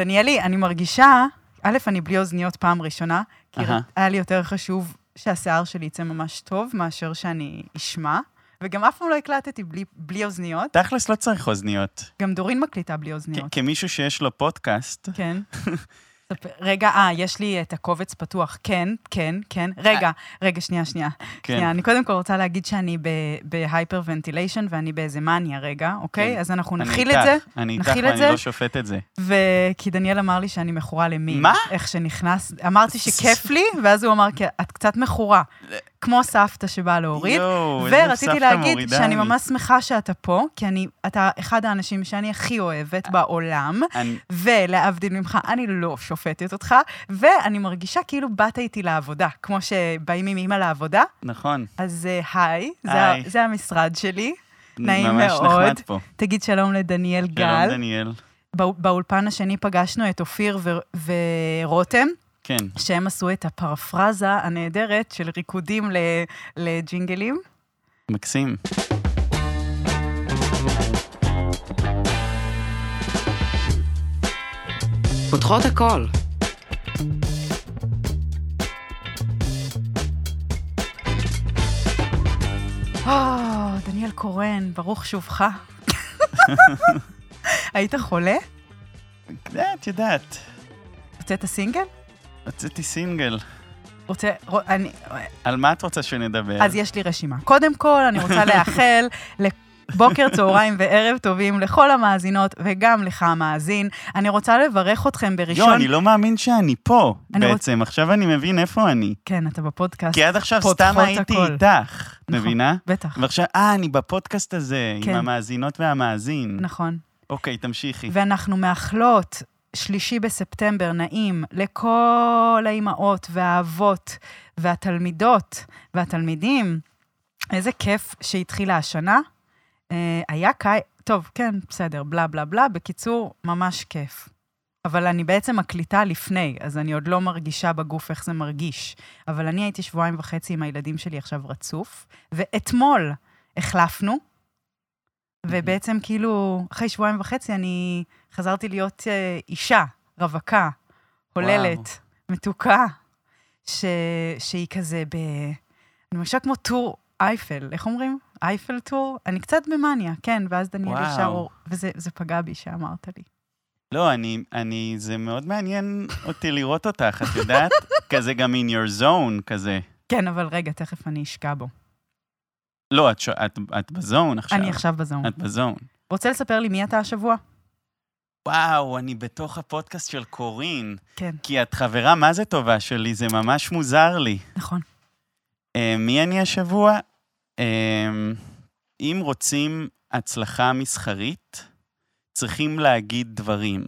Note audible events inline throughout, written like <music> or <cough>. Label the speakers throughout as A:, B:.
A: דניאלי, אני מרגישה, א', אני בלי אוזניות פעם ראשונה, כי
B: אהה.
A: היה לי יותר חשוב שהשיער שלי יצא ממש טוב מאשר שאני אשמע, וגם אף פעם לא הקלטתי בלי, בלי אוזניות.
B: תכלס לא צריך אוזניות.
A: גם דורין מקליטה בלי
B: כ-
A: אוזניות.
B: כמישהו שיש לו פודקאסט,
A: כן.
B: <laughs>
A: ספר- רגע, אה, יש לי את הקובץ פתוח. כן, כן, כן. רגע, רגע, שנייה, שנייה.
B: כן.
A: שנייה, אני קודם כל רוצה להגיד שאני בהייפר ונטיליישן ואני באיזה מניה רגע, אוקיי?
B: כן.
A: אז אנחנו
B: אני
A: נכיל
B: איתך,
A: את זה.
B: אני איתך
A: נכיל את
B: ואני
A: זה.
B: לא שופט את זה.
A: וכי דניאל אמר לי שאני מכורה למין.
B: מה?
A: איך שנכנס, אמרתי שכיף לי, ואז הוא אמר, "כי את קצת מכורה. כמו סבתא שבאה להוריד.
B: יואו, איזה סבתא
A: ורציתי להגיד
B: מורידה
A: שאני
B: לי.
A: ממש שמחה שאתה פה, כי אני, אתה אחד האנשים שאני הכי אוהבת בעולם,
B: אני-
A: ולהבדיל ממך, אני לא שופטת אותך, ואני מרגישה כאילו באת איתי לעבודה, כמו שבאים עם אימא לעבודה,
B: נכון,
A: אז אה, היי, זה
B: היי.
A: ה- זה המשרד שלי, נעים
B: ממש
A: מאוד.
B: נחמד פה.
A: תגיד שלום לדניאל גל.
B: שלום, דניאל.
A: באו- באולפן השני פגשנו את אופיר ו- ורותם,
B: כן,
A: שהם עשו את הפרפרזה הנהדרת של ריקודים ל- לג'ינגלים.
B: מקסים.
C: פותחות הכל.
A: או, אה, דניאל קורן, ברוך שובך. <laughs> היית חולה?
B: אה, את יודעת,
A: הוצאת סינגל?
B: הוצאתי סינגל.
A: רוצה, רו- אני,
B: על מה את רוצה שנדבר?
A: אז יש לי רשימה. קודם כל, אני רוצה לאחל <laughs> לבוקר, צהריים וערב טובים לכל המאזינות, וגם לך, המאזין. אני רוצה לברך אתכם בראשון...
B: יואו, אני לא מאמין שאני פה
A: אני רוצ-
B: בעצם, עכשיו אני מבין איפה אני.
A: כן, אתה בפודקאסט.
B: כי עד עכשיו
A: פותחות
B: סתם הייתי
A: הכל.
B: איתך,
A: נכון.
B: מבינה?
A: בטח,
B: ועכשיו, אה, אני בפודקאסט הזה, עם
A: כן.
B: המאזינות והמאזין.
A: נכון.
B: אוקיי, תמשיכי.
A: ואנחנו מאחלות שלישי בספטמבר נעים לכל האימהות והאבות והתלמידות והתלמידים. איזה כיף שהתחילה השנה. אה, היה קי... טוב, כן, בסדר, בלה בלה בלה. בקיצור, ממש כיף. אבל אני בעצם מקליטה לפני, אז אני עוד לא מרגישה בגוף איך זה מרגיש. אבל אני הייתי שבועיים וחצי עם הילדים שלי עכשיו רצוף, ואתמול החלפנו, ובעצם כאילו, אחרי שבועיים וחצי אני חזרתי להיות אה, אישה, רווקה, הוללת, מתוקה, ש... שהיא כזה ב... אני מרגישה כמו טור אייפל, איך אומרים? אייפל טור? אני קצת במאניה, כן, ואז דניאל
B: וואו.
A: ישר, אור- וזה זה פגע בי שאמרת לי.
B: לא, אני, אני, זה מאוד מעניין אותי לראות אותך, את
A: <laughs>
B: יודעת? כזה גם in your zone, כזה.
A: כן, אבל רגע, תכף אני אשקע בו.
B: לא, את, ש- את, את בזון עכשיו.
A: אני עכשיו בזום.
B: את בזון.
A: רוצה לספר לי מי אתה השבוע?
B: וואו, אני בתוך הפודקאסט של קורין,
A: כן,
B: כי את חברה מה זה טובה שלי, זה ממש מוזר לי.
A: נכון.
B: אה, מי אני השבוע? אה, אם רוצים הצלחה מסחרית, צריכים להגיד דברים.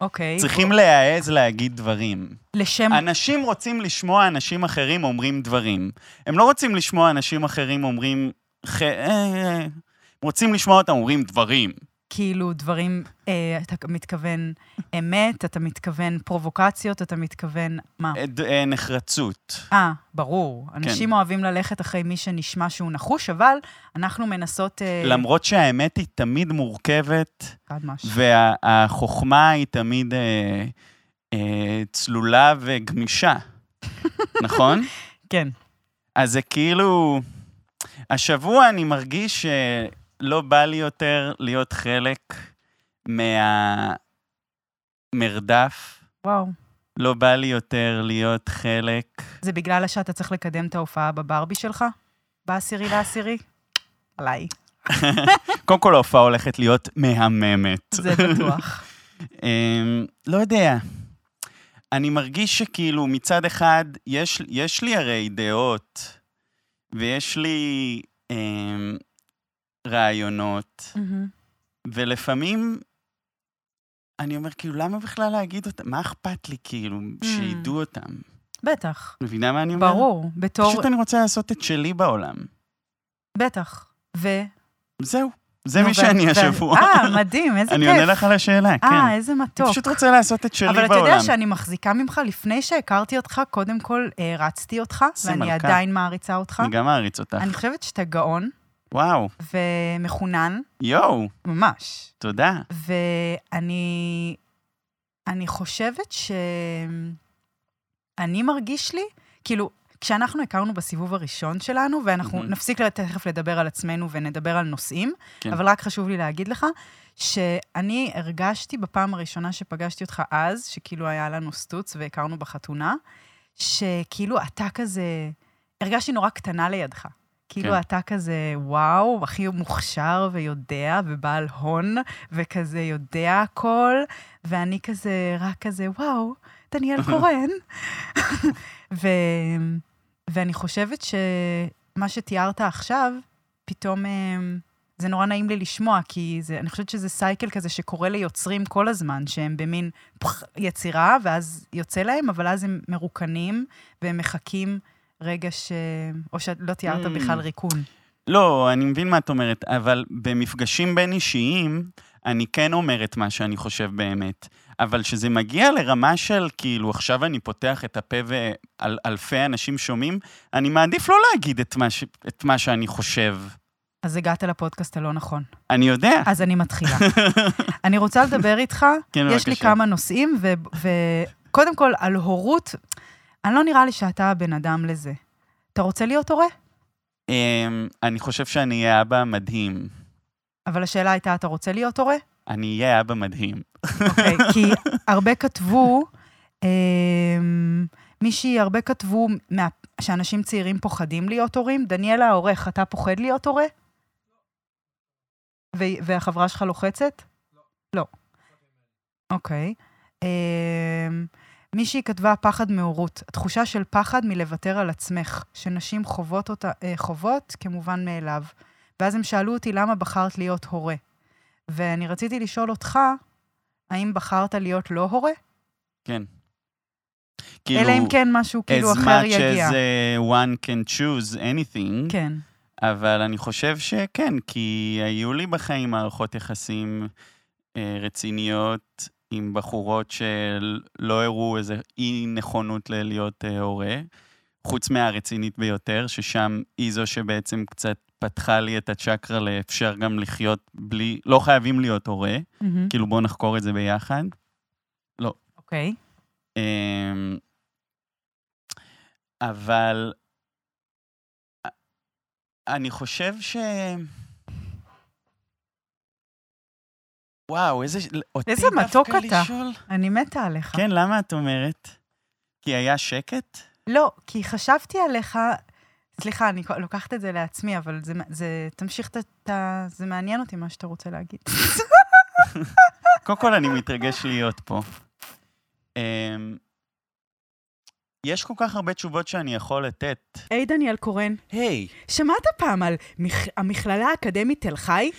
A: אוקיי.
B: צריכים להעז להגיד דברים.
A: לשם...
B: אנשים רוצים לשמוע אנשים אחרים אומרים דברים. הם לא רוצים לשמוע אנשים אחרים אומרים... ח- אה, אה, הם רוצים לשמוע אותם אומרים דברים.
A: כאילו דברים, אה, אתה מתכוון אמת, אתה מתכוון פרובוקציות, אתה מתכוון מה?
B: אה, כן. ד- אה, נחרצות.
A: אה, ברור. אנשים אוהבים ללכת אחרי מי שנשמע שהוא נחוש, אבל אנחנו מנסות... אה,
B: למרות שהאמת היא תמיד מורכבת,
A: חד משמעית.
B: והחוכמה היא תמיד אה, אה, צלולה וגמישה, נכון?
A: כן.
B: אז זה כאילו... השבוע אני מרגיש שלא בא לי יותר להיות חלק מהמרדף,
A: וואו.
B: לא בא לי יותר להיות חלק...
A: זה בגלל שאתה צריך לקדם את ההופעה בברבי שלך? בעשירי לעשירי? עליי.
B: קודם כל ההופעה הולכת להיות מהממת.
A: זה
B: <laughs>
A: בטוח.
B: אמ, לא יודע. אני מרגיש שכאילו מצד אחד, יש, יש לי הרי דעות, ויש לי אמ, רעיונות,
A: מהמם.
B: ולפעמים אני אומר, כאילו, למה בכלל להגיד אותם? מה אכפת לי, כאילו, שידעו אותם?
A: בטח.
B: מבינה מה אני אומר?
A: Hmm. ברור. בתור...
B: פשוט אני רוצה לעשות את שלי בעולם.
A: בטח. ו...
B: זהו, זה
A: נו,
B: מי
A: ו-
B: שאני
A: ו-
B: השבוע.
A: אה, מדהים, איזה כיף.
B: <laughs> אני עונה לך על השאלה, כן.
A: אה, איזה
B: אני
A: מתוק.
B: פשוט רוצה לעשות את שלי
A: אבל
B: בעולם.
A: אתה יודע שאני מחזיקה ממך, לפני שהכרתי אותך, קודם כל הערצתי אותך,
B: איזה
A: ואני
B: מלכה.
A: עדיין מעריצה אותך.
B: אני גם מעריץ אותך.
A: אני חושבת שאתה גאון,
B: וואו,
A: ומחונן,
B: יואו,
A: ממש.
B: תודה.
A: ואני אני חושבת ש... אני מרגיש לי, כאילו, כשאנחנו הכרנו בסיבוב הראשון שלנו, ואנחנו
B: מהמם.
A: נפסיק תכף לדבר על עצמנו ונדבר על נושאים,
B: כן.
A: אבל רק חשוב לי להגיד לך, שאני הרגשתי בפעם הראשונה שפגשתי אותך אז, שכאילו היה לנו סטוץ והכרנו בחתונה, שכאילו אתה כזה, הרגשתי נורא קטנה לידך. כאילו
B: כן.
A: אתה כזה, וואו, הכי מוכשר ויודע ובעל הון, וכזה יודע הכל, ואני כזה, רק כזה, וואו, דניאל קורן. ו... ואני חושבת שמה שתיארת עכשיו, פתאום אמ, זה נורא נעים לי לשמוע, כי זה, אני חושבת שזה סייקל כזה שקורה ליוצרים כל הזמן, שהם במין פח, יצירה, ואז יוצא להם, אבל אז הם מרוקנים, והם מחכים רגע ש... או שלא תיארת
B: Mm.
A: בכלל ריקון.
B: לא, אני מבין מה את אומרת, אבל במפגשים בין אישיים, אני כן אומר את מה שאני חושב באמת. אבל כשזה מגיע לרמה של כאילו, עכשיו אני פותח את הפה ואלפי אנשים שומעים, אני מעדיף לא להגיד את מה, ש... את מה שאני חושב.
A: אז הגעת לפודקאסט הלא נכון.
B: אני יודע.
A: אז אני מתחילה. אני רוצה לדבר איתך,
B: כן,
A: יש לי
B: בבקשה.
A: כמה נושאים, וקודם כל, על הורות, אני לא נראה לי שאתה הבן אדם לזה. אתה רוצה להיות הורה?
B: אמ, אני חושב שאני אהיה אבא מדהים.
A: אבל השאלה הייתה, אתה רוצה להיות הורה?
B: אני אהיה אבא מדהים.
A: אוקיי, כי הרבה כתבו, אמ, מישהי, הרבה כתבו מה- שאנשים צעירים פוחדים להיות הורים. דניאלה העורך, אתה פוחד להיות הורה? ו- והחברה שלך לוחצת? לא. אוקיי. אמ, מישהי כתבה פחד מהורות, התחושה של פחד מלוותר על עצמך, שנשים חוות, אותה, אה, חוות כמובן מאליו. ואז הם שאלו אותי למה בחרת להיות הורה. ואני רציתי לשאול אותך, האם בחרת להיות לא הורה?
B: כן.
A: כאילו, אלא אם כן משהו כאילו
B: as
A: אחר
B: much
A: יגיע.
B: as uh, one can choose anything,
A: כן.
B: אבל אני חושב שכן, כי היו לי בחיים מערכות יחסים אה, רציניות עם בחורות שלא הראו איזה אי נכונות ללהיות אה, הורה, חוץ מהרצינית ביותר, ששם היא זו שבעצם קצת פתחה לי את הצ'קרה לאפשר גם לחיות בלי, לא חייבים להיות הורה,
A: מהמם.
B: כאילו בואו נחקור את זה ביחד.
A: אוקיי.
B: אמ, אבל א- אני חושב ש... וואו, איזה... אותי
A: איזה מתוק
B: דווקא
A: אתה.
B: לשאול?
A: אני מתה עליך.
B: כן, למה את אומרת? כי היה שקט?
A: לא, כי חשבתי עליך, סליחה, אני כל- לוקחת את זה לעצמי, אבל זה, זה תמשיך את ה- את ה... זה מעניין אותי מה שאתה רוצה
B: <laughs>
A: להגיד.
B: קודם כל, אני מתרגש להיות פה. אמ, יש כל כך הרבה תשובות שאני יכול לתת.
A: היי, דניאל קורן,
D: היי,
A: שמעת פעם על המכללה האקדמית תל חי?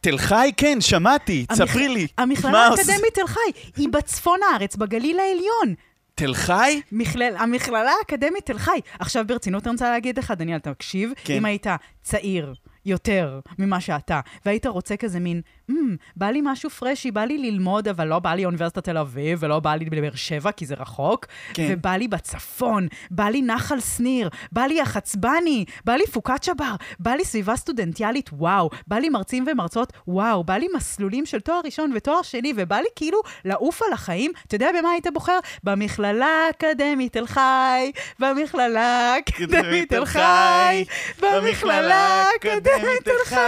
D: תל חי, כן, שמעתי,
A: המכ-
D: תספרי לי.
A: המכללה
D: מה עוש-
A: האקדמית תל חי היא בצפון הארץ, בגליל העליון.
D: תל חי?
A: מכלל, המכללה האקדמית תל חי. עכשיו ברצינות אני רוצה להגיד לך, דניאל, תקשיב, כן.
D: כן.
A: אם היית צעיר יותר ממה שאתה, והיית רוצה כזה מין, mm, בא לי משהו פרשי, בא לי ללמוד, אבל לא בא לי אוניברסיטת תל אביב, ולא בא לי לבאר שבע, כי זה רחוק, כן.
D: כן.
A: ובא לי בצפון, בא לי נחל שניר, בא לי החצבני, בא לי פוקת שבר, בא לי סביבה סטודנטיאלית, וואו, בא לי מרצים ומרצות, וואו, בא לי מסלולים של תואר ראשון ותואר שני, ובא לי כאילו לעוף על החיים, אתה יודע במה היית בוחר? במכללה האקדמית תל חי, במכללה האקדמית תל חי, במכללה האקדמית תל חי.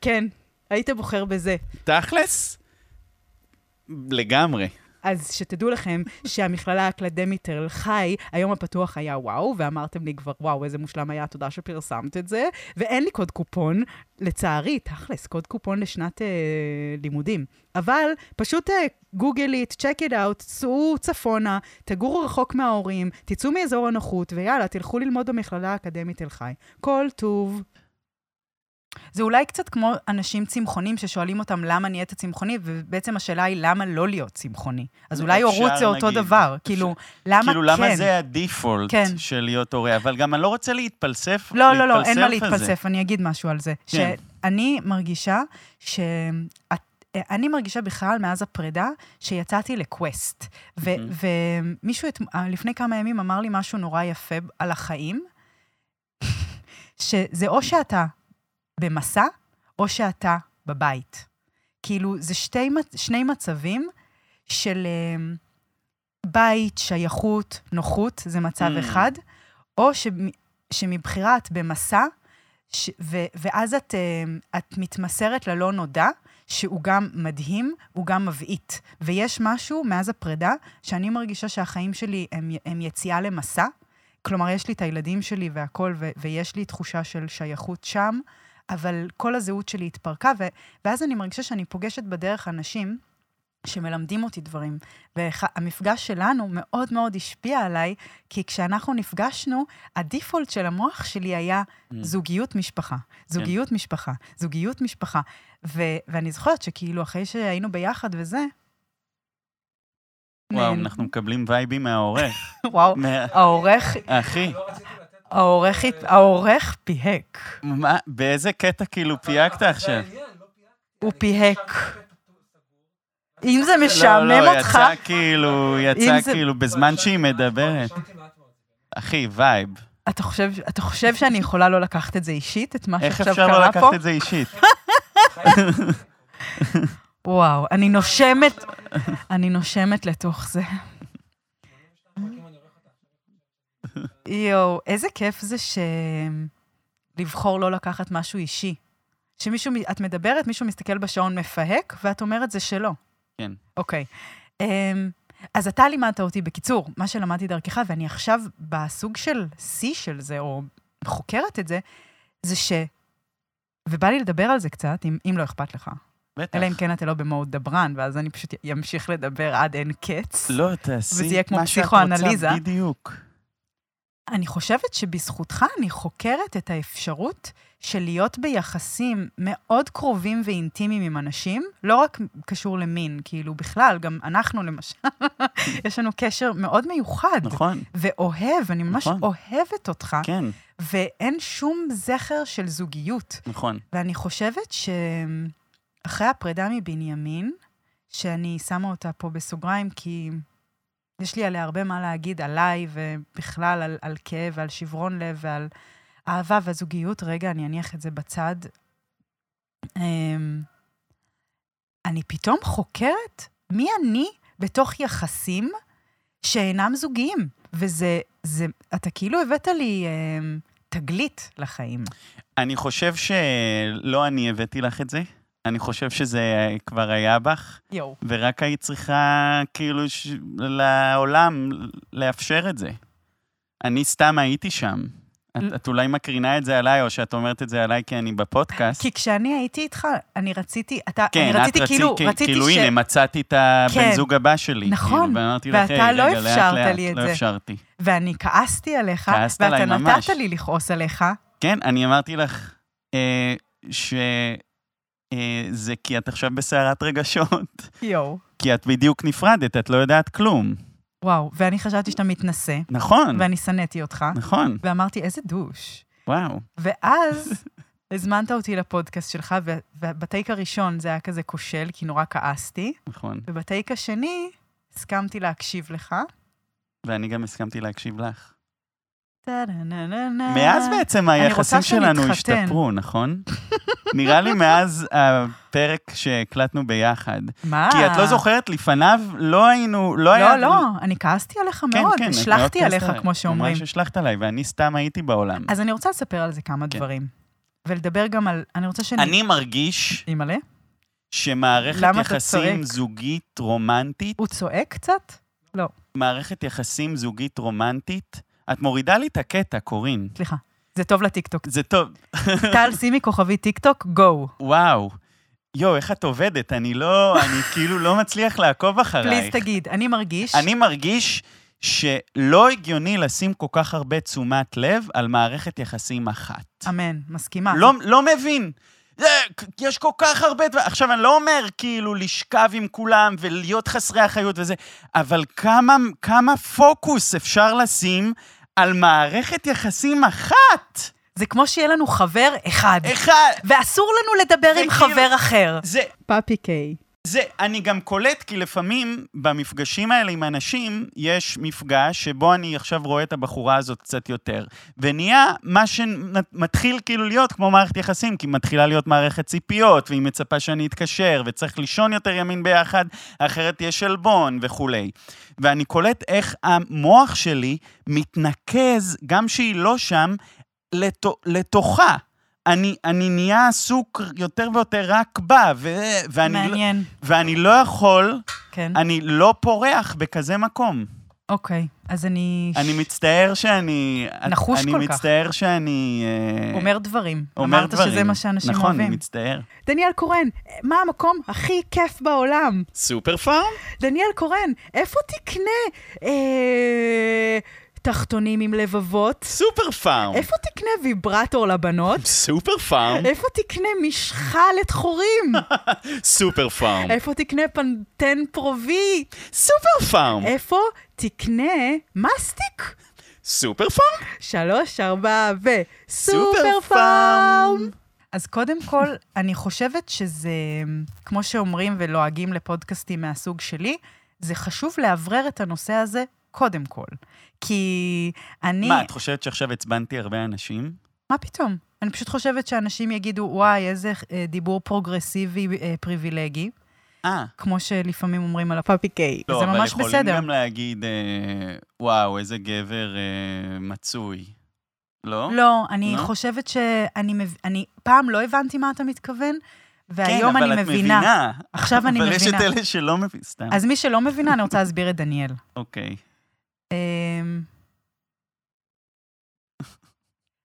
A: כן, היית בוחר בזה.
B: תכלס? לגמרי.
A: אז שתדעו לכם שהמכללה האקדמית תל חי, היום הפתוח היה וואו, ואמרתם לי כבר, וואו, איזה מושלם היה, תודה שפרסמת את זה, ואין לי קוד קופון, לצערי, תכלס, קוד קופון לשנת אה, לימודים. אבל פשוט אה, גוגל איט, צ'ק איט אאוט, צאו צפונה, תגורו רחוק מההורים, תצאו מאזור הנוחות, ויאללה, תלכו ללמוד במכללה האקדמית תל חי. כל טוב. זה אולי קצת כמו אנשים צמחונים ששואלים אותם למה נהיית צמחוני, ובעצם השאלה היא למה לא להיות צמחוני. אז אולי
B: אפשר
A: הורות זה אותו
B: להגיד.
A: דבר,
B: <laughs>
A: כאילו, למה
B: כאילו, למה
A: כן?
B: זה הדיפולט
A: כן.
B: של להיות הורה? אבל גם אני לא רוצה להתפלסף.
A: לא, לא, לא, אין מה
B: להתפלסף על זה.
A: להתפלסף, אני אגיד משהו על זה.
B: כן.
A: שאני מרגישה ש... את- אני מרגישה בכלל מאז הפרידה שיצאתי לקווסט. ו- אה, ומישהו את... לפני כמה ימים אמר לי משהו נורא יפה על החיים, <laughs> שזה או שאתה במסע, או שאתה בבית. כאילו, זה שתי, מצ- שני מצבים של אמ, בית, שייכות, נוחות, זה מצב
B: Mm.
A: אחד, או ש, שמבחירה את במסע, ש, ו, ואז את, אמ, את מתמסרת ללא נודע, שהוא גם מדהים, הוא גם מבעית. ויש משהו מאז הפרידה, שאני מרגישה שהחיים שלי הם, הם יציאה למסע. כלומר, יש לי את הילדים שלי והכול, ו- ויש לי תחושה של שייכות שם, אבל כל הזהות שלי התפרקה, ו- ואז אני מרגישה שאני פוגשת בדרך אנשים שמלמדים אותי דברים. והמפגש שלנו מאוד מאוד השפיע עליי, כי כשאנחנו נפגשנו, הדיפולט של המוח שלי היה זוגיות משפחה, זוגיות משפחה, זוגיות משפחה. ו- ואני זוכרת שכאילו, אחרי שהיינו ביחד וזה...
B: וואו, נכון.
A: נהל-
B: אנחנו מקבלים וייבים מהעורך.
A: וואו,
B: <laughs> מה-
A: העורך,
B: אחי,
A: העורך, הת- העורך פיהק.
B: מה- באיזה קטע כאילו פייקת
A: <laughs>
B: עכשיו? לא,
A: הוא פיהק. אם זה משעמם
B: לא, לא,
A: אותך,
B: יצא כאילו,
A: אם
B: יצא
A: זה-
B: כאילו בזמן שהיא מדברת. אחי, וייב.
A: אתה חושב, אתה חושב שאני יכולה לא לקחת את זה אישית, את מה
B: איך
A: שעכשיו
B: אפשר לא
A: קרה פה?
B: לקחת את זה אישית?
A: וואו, אני נושמת, אני נושמת לתוך זה. יואו, איזה כיף זה ש... לבחור לא לקחת משהו אישי. שמישהו, מ- את מדברת, מישהו מסתכל בשעון מפהק, ואת אומרת זה שלו.
B: כן.
A: אוקיי. אמ, אז אתה לימדת אותי, בקיצור, מה שלמדתי דרכך, ואני עכשיו בסוג של שיא של זה, או חוקרת את זה, זה ש... ובא לי לדבר על זה קצת, אם, אם לא אכפת לך.
B: בטח.
A: אלא אם כן אתה לא במוד דברן, ואז אני פשוט אמשיך לדבר עד אין קץ.
B: לא, תעשי
A: כן- וזה יהיה כמו
B: מה שאת
A: פסיכואנליזה.
B: רוצה, בדיוק.
A: אני חושבת שבזכותך אני חוקרת את האפשרות של להיות ביחסים מאוד קרובים ואינטימיים עם אנשים, לא רק קשור למין, כאילו בכלל, גם אנחנו למשל,
B: <laughs>
A: יש לנו קשר מאוד מיוחד.
B: נכון,
A: אה? ואוהב, אני ממש
B: נכון.
A: אוהבת אותך,
B: כן,
A: ואין שום זכר של זוגיות.
B: נכון.
A: ואני חושבת שאחרי הפרידה מבנימין, שאני שמה אותה פה בסוגריים, כי יש לי עליה הרבה מה להגיד עליי, ובכלל על, על כאב ועל שברון לב ועל אהבה והזוגיות. רגע, אני אניח את זה בצד. אמ, אני פתאום חוקרת מי אני בתוך יחסים שאינם זוגיים. וזה, זה, אתה כאילו הבאת לי אמ, תגלית לחיים.
B: אני חושב שלא אני הבאתי לך את זה. אני חושב שזה כבר היה בך,
A: יואו.
B: ורק היית צריכה כאילו ש... לעולם לאפשר את זה. אני סתם הייתי שם. את, את אולי מקרינה את זה עליי, או שאת אומרת את זה עליי כי אני בפודקאסט.
A: כי כשאני הייתי איתך, אני רציתי, אתה,
B: כן,
A: אני
B: את
A: רציתי,
B: רצית,
A: כאילו,
B: כאילו,
A: רציתי ש...
B: הנה, מצאתי את הבן
A: כן.
B: זוג הבא שלי.
A: נכון,
B: כאילו, ואמרתי לך,
A: ואתה
B: "היי,
A: לא
B: רגע, לאט,
A: אפשרת
B: לאט,
A: לי את
B: לא
A: זה."
B: אפשרתי.
A: ואני כעסתי עליך,
B: כעסת
A: ואתה
B: עליי
A: נתת
B: ממש.
A: לי לכעוס עליך,
B: כן, אני אמרתי לך אה, שזה כי את עכשיו בסערת רגשות,
A: יואו.
B: כי את בדיוק נפרדת, את לא יודעת כלום.
A: וואו, ואני חשבתי שאתה מתנשא,
B: נכון,
A: ואני שנאתי אותך,
B: נכון,
A: ואמרתי, איזה דוש.
B: וואו. <laughs>
A: ואז הזמנת אותי לפודקאסט שלך, ו- ובטייק הראשון זה היה כזה כושל, כי נורא כעסתי,
B: נכון,
A: ובטייק השני הסכמתי להקשיב לך.
B: ואני גם הסכמתי להקשיב לך.
A: טה-נה-נה-נה.
B: מאז בעצם היחסים
A: אה, רוצה
B: שלנו
A: שנתחתן.
B: השתפרו, נכון? נראה לי מאז הפרק שהקלטנו ביחד.
A: מה?
B: כי את לא זוכרת, לפניו לא היינו, לא היה...
A: אה. לא, לא, אני כעסתי עליך
B: כן,
A: מאוד,
B: כן, את מאוד
A: השלכתי
B: כעסת
A: עליך,
B: עליי.
A: כמו שאומרים.
B: ממש השלכת עליי, ואני סתם הייתי בעולם.
A: אז אני רוצה לספר על זה כמה
B: כן.
A: דברים. ולדבר גם על... אני רוצה שנ...
B: אני מרגיש
A: אימא'לה?
B: שמערכת
A: למה אתה צועק?
B: יחסים זוגית רומנטית,
A: הוא צועק קצת?
B: מערכת יחסים זוגית רומנטית, את מורידה לי את הקטע, קורין.
A: סליחה. זה טוב לטיקטוק. <laughs>
B: זה טוב,
A: טל, שימי כוכבי טיקטוק, גו.
B: וואו. יואו, איך את עובדת, אני לא, אני <laughs> כאילו לא מצליח לעקוב
A: פליז
B: אחרייך.
A: תגיד, אני מרגיש...
B: אני מרגיש שלא הגיוני לשים כל כך הרבה תשומת לב על מערכת יחסים אחת.
A: אמן, מסכימה.
B: לא, לא מבין. זה, יש כל כך הרבה דברים. עכשיו, אני לא אומר כאילו לשכב עם כולם ולהיות חסרי אחריות וזה, אבל כמה, כמה פוקוס אפשר לשים על מערכת יחסים אחת?
A: זה כמו שיהיה לנו חבר אחד,
B: אחד.
A: ואסור לנו לדבר עם
B: וכאילו-
A: חבר אחר.
B: זה,
A: פאפי קיי.
B: זה, אני גם קולט, כי לפעמים במפגשים האלה עם אנשים, יש מפגש שבו אני עכשיו רואה את הבחורה הזאת קצת יותר. ונהיה מה שמתחיל כאילו להיות כמו מערכת יחסים, כי מתחילה להיות מערכת ציפיות, והיא מצפה שאני אתקשר, וצריך לישון יותר ימין ביחד, אחרת יש עלבון וכולי. ואני קולט איך המוח שלי מתנקז, גם שהיא לא שם, לת... לתוכה. אני, אני נהיה עסוק יותר ויותר רק בה, ו... ואני, לא,
A: מעניין,
B: ואני לא יכול,
A: כן.
B: אני לא פורח בכזה מקום.
A: אוקיי, אז אני...
B: אני מצטער שאני...
A: נחוש
B: אני
A: כל
B: אני
A: כך.
B: מצטער שאני... אה,
A: אומר דברים.
B: אומר
A: אמרת
B: דברים.
A: שזה מה שאנשים
B: נכון,
A: אוהבים.
B: נכון, מצטער.
A: דניאל קורן, מה המקום הכי כיף בעולם?
D: סופר פארם?
A: דניאל קורן, איפה תקנה אה, תחתונים עם לבבות?
D: סופר פארם.
A: איפה תקנה ויברטור לבנות?
D: סופר פארם?
A: איפה תקנה משחה לתחורים?
D: סופר פארם.
A: איפה תקנה פנטן פרובי?
D: סופר פארם.
A: איפה תקנה מסטיק?
D: סופר פארם?
A: שלוש, ארבע ו... סופר
D: סופר
A: פארם!
D: פארם.
A: אז קודם כל, אני חושבת שזה, כמו שאומרים ולועגים לפודקאסטים מהסוג שלי, זה חשוב לאוורר את הנושא הזה קודם כל. כי אני...
B: מה, את חושבת שעכשיו עצבנתי הרבה אנשים?
A: מה פתאום? אני פשוט חושבת שאנשים יגידו, וואי, איזה אה, דיבור פרוגרסיבי אה, פריבילגי,
B: אה.
A: כמו שלפעמים אומרים על הפאפי קיי.
B: לא,
A: זה
B: אבל
A: ממש
B: יכולים
A: בסדר.
B: גם להגיד, אה, וואו, איזה גבר אה, מצוי. לא?
A: לא, אני
B: לא?
A: חושבת שאני... מב- אני פעם לא הבנתי מה אתה מתכוון,
B: כן,
A: והיום
B: אבל
A: אני
B: את
A: מבינה.
B: מבינה.
A: עכשיו אני
B: אבל יש
A: מבינה.
B: את אלה שלא מבינים, סתם.
A: אז מי שלא מבינה, אני רוצה להסביר את דניאל.
B: אוקיי.
A: אמ,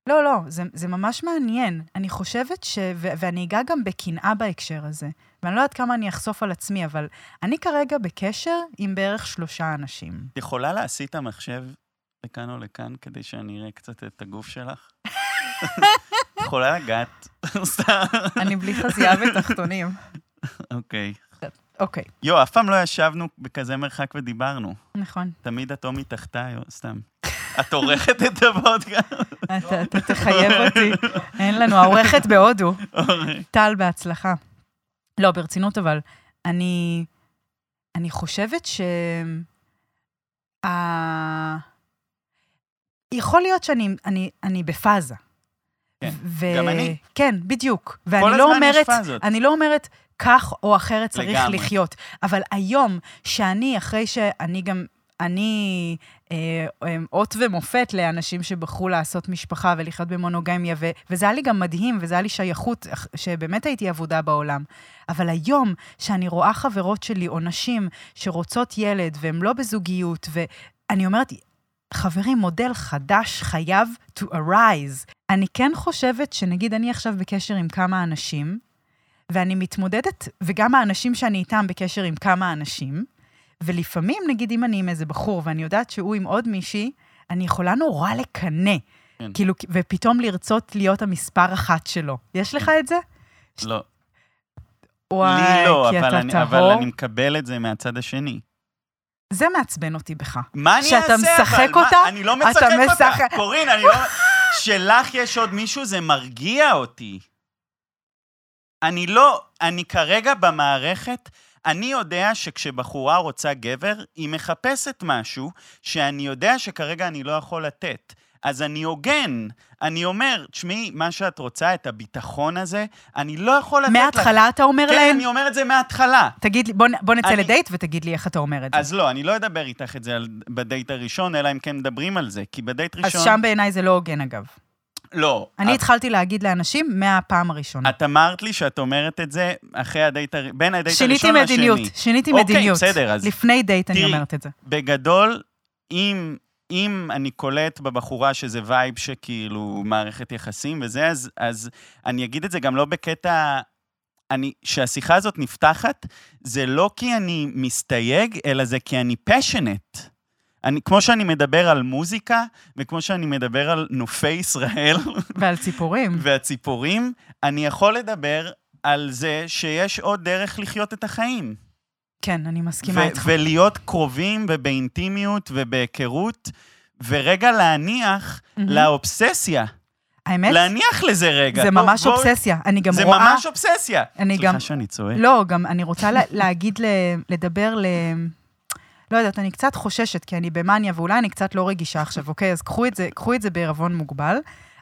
A: לא, לא, זה, זה ממש מעניין. אני חושבת ש... ו- ואני אגע גם בקנאה בהקשר הזה. ואני לא יודעת כמה אני אחשוף על עצמי, אבל אני כרגע בקשר עם בערך שלושה אנשים.
B: את יכולה להסיט את המחשב לכאן או לכאן כדי שאני אראה קצת את הגוף שלך? את יכולה לגעת? סתם.
A: אני בלי
B: <laughs>
A: חזייה ותחתונים.
B: אוקיי.
A: אוקיי,
B: יו, אף פעם לא ישבנו בכזה מרחק ודיברנו.
A: נכון.
B: תמיד את או מתחתיי, או סתם. את עורכת את הוודקה?
A: אתה, אתה תחייב אותי. אין לנו, העורכת בהודו. טל, בהצלחה. לא, ברצינות, אבל אני, אני חושבת ש... ה... יכול להיות שאני אני, אני בפאזה.
B: כן,
A: ו-
B: גם אני.
A: כן, בדיוק.
B: כל
A: ואני
B: הזמן
A: לא
B: יש
A: אומרת,
B: פאזות.
A: אני לא אומרת כך או אחרת צריך
B: לגמרי.
A: לחיות. אבל היום, שאני, אחרי שאני גם, אני אה, אה, אות ומופת לאנשים שבחרו לעשות משפחה ולחיות במונוגמיה, ו- וזה היה לי גם מדהים, וזה היה לי שייכות, אח- שבאמת הייתי אבודה בעולם. אבל היום, שאני רואה חברות שלי, או נשים שרוצות ילד, והן לא בזוגיות, ואני אומרת, חברים, מודל חדש חייב to arise. אני כן חושבת שנגיד אני עכשיו בקשר עם כמה אנשים, ואני מתמודדת, וגם האנשים שאני איתם בקשר עם כמה אנשים, ולפעמים, נגיד, אם אני עם איזה בחור ואני יודעת שהוא עם עוד מישהי, אני יכולה נורא לקנא. כן.
B: כן.
A: כאילו, ופתאום לרצות להיות המספר אחת שלו. יש לך את זה?
B: לא.
A: וואי,
B: לי לא,
A: כי
B: אבל
A: אתה
B: אני-
A: טהור.
B: אבל אני מקבל את זה מהצד השני.
A: זה מעצבן אותי בך.
B: מה אני אעשה?
A: שאתה משחק
B: אבל? מה-
A: אותה?
B: אני לא
A: אתה
B: משחק
A: משחק-
B: אותה. קורין, אני לא... שלך יש עוד מישהו, זה מרגיע אותי. אני לא... אני כרגע במערכת, אני יודע שכשבחורה רוצה גבר, היא מחפשת משהו שאני יודע שכרגע אני לא יכול לתת. אז אני הוגן. אני אומר, תשמעי, מה שאת רוצה, את הביטחון הזה, אני לא יכול לתת לך.
A: מההתחלה אתה אומר
B: כן,
A: להם?
B: אני אומר את זה מההתחלה.
A: תגיד לי, בוא, נ- בוא נצא
B: אני-
A: לדייט ותגיד לי איך אתה אומר את זה.
B: אז לא, אני לא אדבר איתך את זה על, בדייט הראשון, אלא אם כן מדברים על זה, כי בדייט
A: אז
B: ראשון...
A: שם בעיניי זה לא הוגן, אגב.
B: לא.
A: אני
B: את,
A: התחלתי להגיד לאנשים מהפעם הראשונה.
B: את אמרת לי שאת אומרת את זה אחרי הדייט... הר- בין הדייט
A: שיניתי
B: הראשון לשני.
A: מדיניות, שיניתי
B: אוקיי,
A: מדיניות.
B: בסדר, אז-
A: לפני דייט אני
B: תראי,
A: אומרת את זה.
B: בגדול, אם, אם אני קולט בבחורה שזה וייב שכאילו מערכת יחסים וזה, אז, אז אני אגיד את זה גם לא בקטע... אני, שהשיחה הזאת נפתחת, זה לא כי אני מסתייג, אלא זה כי אני פשנט. אני, כמו שאני מדבר על מוזיקה, וכמו שאני מדבר על נופי ישראל, <laughs>
A: ועל ציפורים.
B: והציפורים, אני יכול לדבר על זה שיש עוד דרך לחיות את החיים.
A: כן, אני מסכימה איתך.
B: ולהיות קרובים ובאינטימיות ובהיכרות, ורגע להניח
A: מהמם.
B: לאובססיה.
A: האמת,
B: להניח לזה רגע.
A: זה
B: בוא-
A: ממש
B: בוא-
A: אובססיה. אני גם
B: זה
A: רואה...
B: ממש אובססיה.
A: אני גם-
B: סליחה שאני צועק.
A: לא, גם אני רוצה לה, להגיד, ל, לדבר ל... לא יודעת, אני קצת חוששת, כי אני במאניה, ואולי אני קצת לא רגישה עכשיו, אוקיי? אז קחו את זה, קחו את זה בעירבון מוגבל.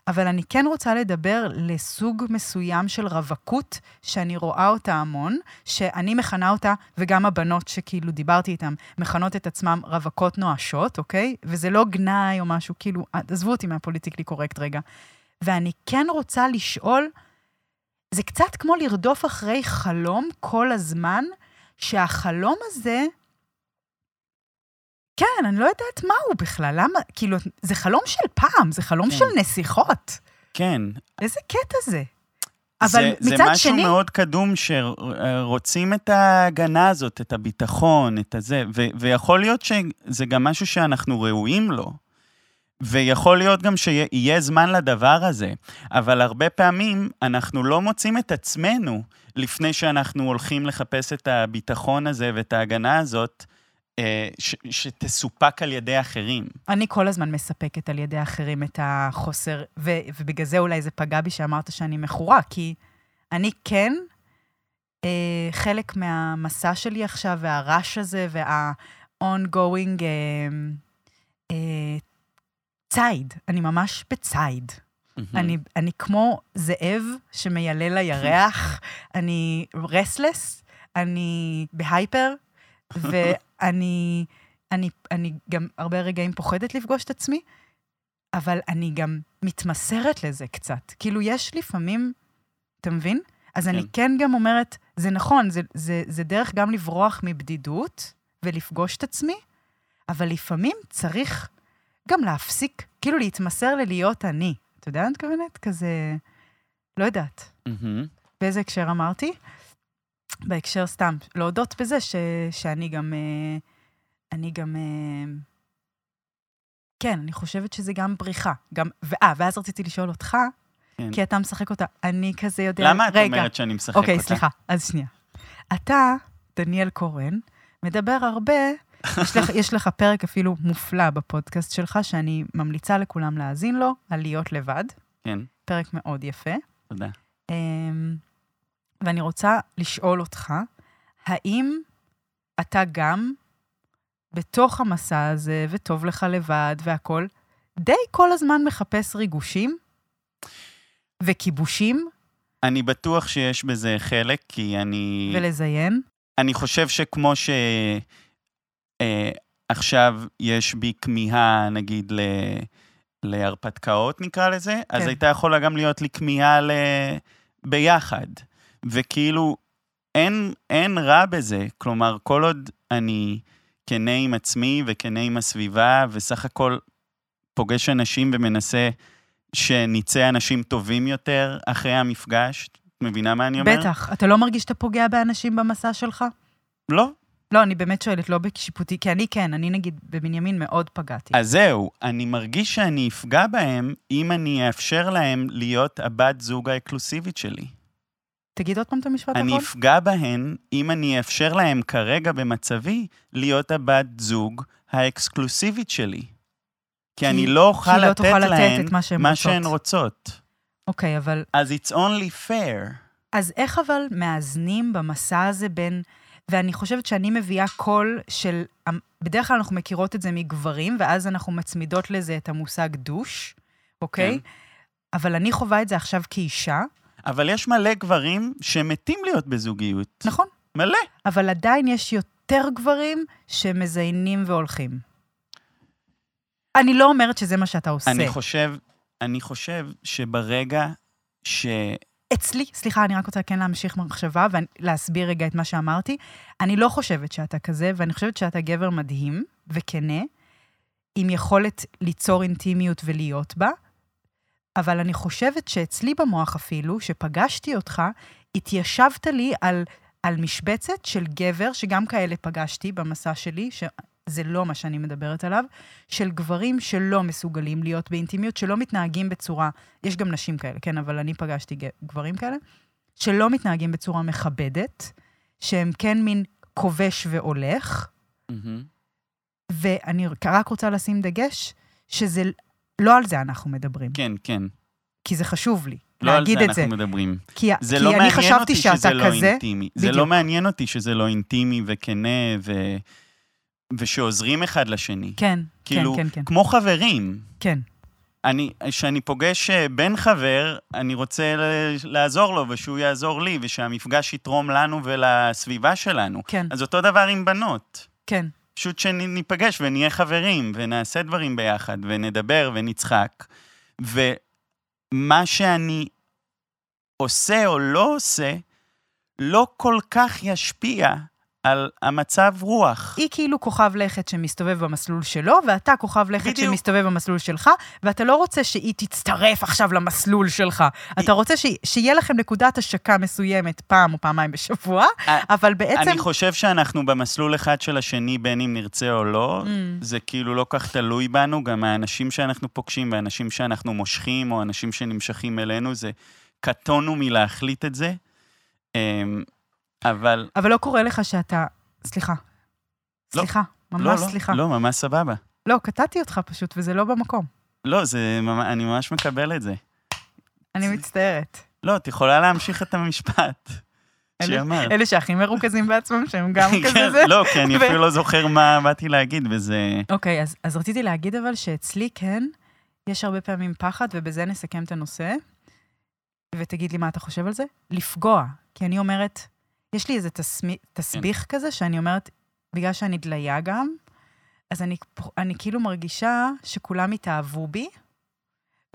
A: אבל אני כן רוצה לדבר לסוג מסוים של רווקות, שאני רואה אותה המון, שאני מכנה אותה, וגם הבנות שכאילו דיברתי איתן, מכנות את עצמן רווקות נואשות, אוקיי? וזה לא גנאי או משהו, כאילו, עזבו אותי מהפוליטיקלי קורקט רגע. ואני כן רוצה לשאול, זה קצת כמו לרדוף אחרי חלום כל הזמן, שהחלום הזה... כן, אני לא יודעת מה הוא בכלל, למה... כאילו, זה חלום של פעם, זה חלום
B: כן.
A: של נסיכות.
B: כן.
A: איזה קטע זה.
B: זה,
A: אבל
B: זה
A: מצד
B: משהו
A: שני...
B: מאוד קדום שרוצים את ההגנה הזאת, את הביטחון, את הזה, ו, ויכול להיות שזה גם משהו שאנחנו ראויים לו. ויכול להיות גם שיהיה זמן לדבר הזה, אבל הרבה פעמים אנחנו לא מוצאים את עצמנו לפני שאנחנו הולכים לחפש את הביטחון הזה ואת ההגנה הזאת, אה, ש, שתסופק על ידי אחרים.
A: אני כל הזמן מספקת על ידי אחרים את החוסר, ו- ובגלל זה אולי זה פגע בי שאמרת שאני מכורה, כי אני כן אה, חלק מהמסע שלי עכשיו, והרעש הזה, וה-ongoing אה, אה, ציד. אני ממש בציד. אני, אני כמו זאב שמיילל לירח, אני רסלס, אני בהייפר, ואני אני, אני גם הרבה רגעים פוחדת לפגוש את עצמי, אבל אני גם מתמסרת לזה קצת. כאילו, יש לפעמים, אתה מבין? אז אני
B: כן.
A: כן גם אומרת, זה נכון, זה, זה, זה דרך גם לברוח מבדידות ולפגוש את עצמי, אבל לפעמים צריך גם להפסיק, כאילו להתמסר ללהיות אני. אתה יודע מה אני מתכוונת? כזה, לא יודעת.
B: מהמם.
A: באיזה הקשר אמרתי? בהקשר סתם, להודות בזה ש, שאני גם... אה, אני גם... אה, כן, אני חושבת שזה גם בריחה. גם... ואה, ואז רציתי לשאול אותך,
B: כן.
A: כי אתה משחק אותה. אני כזה יודע...
B: למה את
A: רגע.
B: אומרת שאני משחק
A: אוקיי,
B: אותה?
A: סליחה, אז שנייה. אתה, דניאל קורן, מדבר
B: <laughs>
A: הרבה, יש, לך, יש לך פרק אפילו מופלא בפודקאסט שלך, שאני ממליצה לכולם להאזין לו, על להיות לבד,
B: כן,
A: פרק מאוד יפה.
B: תודה.
A: אמ, ואני רוצה לשאול אותך, האם אתה גם בתוך המסע הזה, וטוב לך לבד והכול, די כל הזמן מחפש ריגושים וכיבושים
B: אני בטוח שיש בזה חלק, כי אני...
A: ולזיין?
B: אני חושב שכמו ש... אה, עכשיו יש בי כמיהה, נגיד, ל... להרפתקאות, נקרא לזה, כן. אז
A: כן.
B: הייתה יכולה גם להיות לי כמיהה ל... ביחד. וכאילו, אין, אין רע בזה. כלומר, כל עוד אני כנה עם עצמי וכנה עם הסביבה, וסך הכל פוגש אנשים ומנסה שנצא אנשים טובים יותר אחרי המפגש, את מבינה מה אני אומר?
A: בטח. אתה לא מרגיש שאתה פוגע באנשים במסע שלך?
B: לא,
A: לא, אני באמת שואלת, לא בשיפוטי, כי אני כן, אני נגיד בבנימין מאוד פגעתי.
B: אז זהו, אני מרגיש שאני אפגע בהם אם אני אאפשר להם להיות הבת זוג האקלוסיבית שלי.
A: תגיד עוד פעם את המשפט
B: אני
A: האחרון.
B: אפגע בהן אם אני אאפשר להם כרגע במצבי להיות הבת זוג האקסקלוסיבית שלי. כי, אני לא אוכל
A: לא
B: לתת
A: תוכל לתת
B: להן
A: את מה שהן רוצות.
B: שהן רוצות.
A: אוקיי, אבל
B: אז it's only fair.
A: אז איך אבל מאזנים במסע הזה בין... ואני חושבת שאני מביאה קול של... בדרך כלל אנחנו מכירות את זה מגברים, ואז אנחנו מצמידות לזה את המושג דוש, אוקיי?
B: כן.
A: אבל אני חווה את זה עכשיו כאישה,
B: אבל יש מלא גברים שמתים להיות בזוגיות.
A: נכון?
B: מלא.
A: אבל עדיין יש יותר גברים שמזיינים והולכים. אני לא אומרת שזה מה שאתה עושה.
B: אני חושב, אני חושב שברגע ש...
A: אצלי, סליחה, אני רק רוצה כן להמשיך במחשבה ולהסביר רגע את מה שאמרתי. אני לא חושבת שאתה כזה, ואני חושבת שאתה גבר מדהים וכנה, עם יכולת ליצור אינטימיות ולהיות בה, אבל אני חושבת שאצלי במוח אפילו, שפגשתי אותך, התיישבת לי על, על משבצת של גבר, שגם כאלה פגשתי במסע שלי, שזה לא מה שאני מדברת עליו, של גברים שלא מסוגלים להיות באינטימיות, שלא מתנהגים בצורה, יש גם נשים כאלה, כן, אבל אני פגשתי ג- גברים כאלה, שלא מתנהגים בצורה מכבדת, שהם כן מין כובש והולך, ואני רק רוצה לשים דגש שזה, לא על זה אנחנו מדברים.
B: כן, כן.
A: כי זה חשוב לי
B: לא על
A: להגיד
B: זה
A: את זה.
B: אנחנו מדברים.
A: כי,
B: זה
A: כי
B: לא
A: אני
B: מעניין
A: חשבתי
B: אותי
A: שאתה
B: שזה לא
A: כזה,
B: אינטימי. זה לא
A: בדיוק.
B: מעניין אותי שזה לא אינטימי וכנה ו... ושעוזרים אחד לשני.
A: כן,
B: כאילו,
A: כן, כן, כן,
B: כמו חברים.
A: כן.
B: אני, כשאני פוגש אה, בן חבר, אני רוצה ל- לעזור לו ושהוא יעזור לי, ושהמפגש יתרום לנו ולסביבה שלנו.
A: כן,
B: אז אותו דבר עם בנות.
A: כן,
B: פשוט שניפגש ונהיה חברים, ונעשה דברים ביחד, ונדבר ונצחק. ומה שאני עושה או לא עושה, לא כל כך ישפיע על המצב רוח.
A: היא כאילו כוכב לכת שמסתובב במסלול שלו, ואתה כוכב לכת
B: בדיוק.
A: שמסתובב במסלול שלך, ואתה לא רוצה שהיא תצטרף עכשיו למסלול שלך. אתה רוצה ש... שיהיה לכם נקודת השקה מסוימת פעם או פעמיים בשבוע,
B: אה,
A: אבל בעצם...
B: אני חושב שאנחנו במסלול אחד של השני, בין אם נרצה או לא.
A: Mm,
B: זה כאילו לא כך תלוי בנו, גם האנשים שאנחנו פוגשים והאנשים שאנחנו מושכים, או אנשים שנמשכים אלינו, זה קטונו מלהחליט את זה. אמ, אבל
A: אבל לא קורה לך שאתה... סליחה.
B: לא.
A: סליחה,
B: לא,
A: ממש
B: לא,
A: סליחה.
B: לא, ממש סבבה.
A: לא, קטעתי אותך פשוט, וזה לא במקום.
B: לא, זה, ממ- אני ממש מקבל את זה.
A: אני
B: זה-
A: מצטערת.
B: לא, את יכולה להמשיך את המשפט
A: אלה-
B: שאמרת.
A: אלה שהכי מרוכזים בעצמם, שהם <laughs> גם כזה
B: <laughs> כן,
A: זה.
B: לא, כי
A: <laughs>
B: אני
A: ו-
B: אפילו לא זוכר מה באתי להגיד, וזה...
A: אוקיי, אז, אז רציתי להגיד אבל שאצלי כן, יש הרבה פעמים פחד, ובזה נסכם את הנושא, ותגיד לי מה אתה חושב על זה, לפגוע. כי אני אומרת, יש לי איזה תסמי, תסביך כן. כזה, שאני אומרת, בגלל שאני דליה גם, אז אני, פ- אני כאילו מרגישה שכולם התאהבו בי,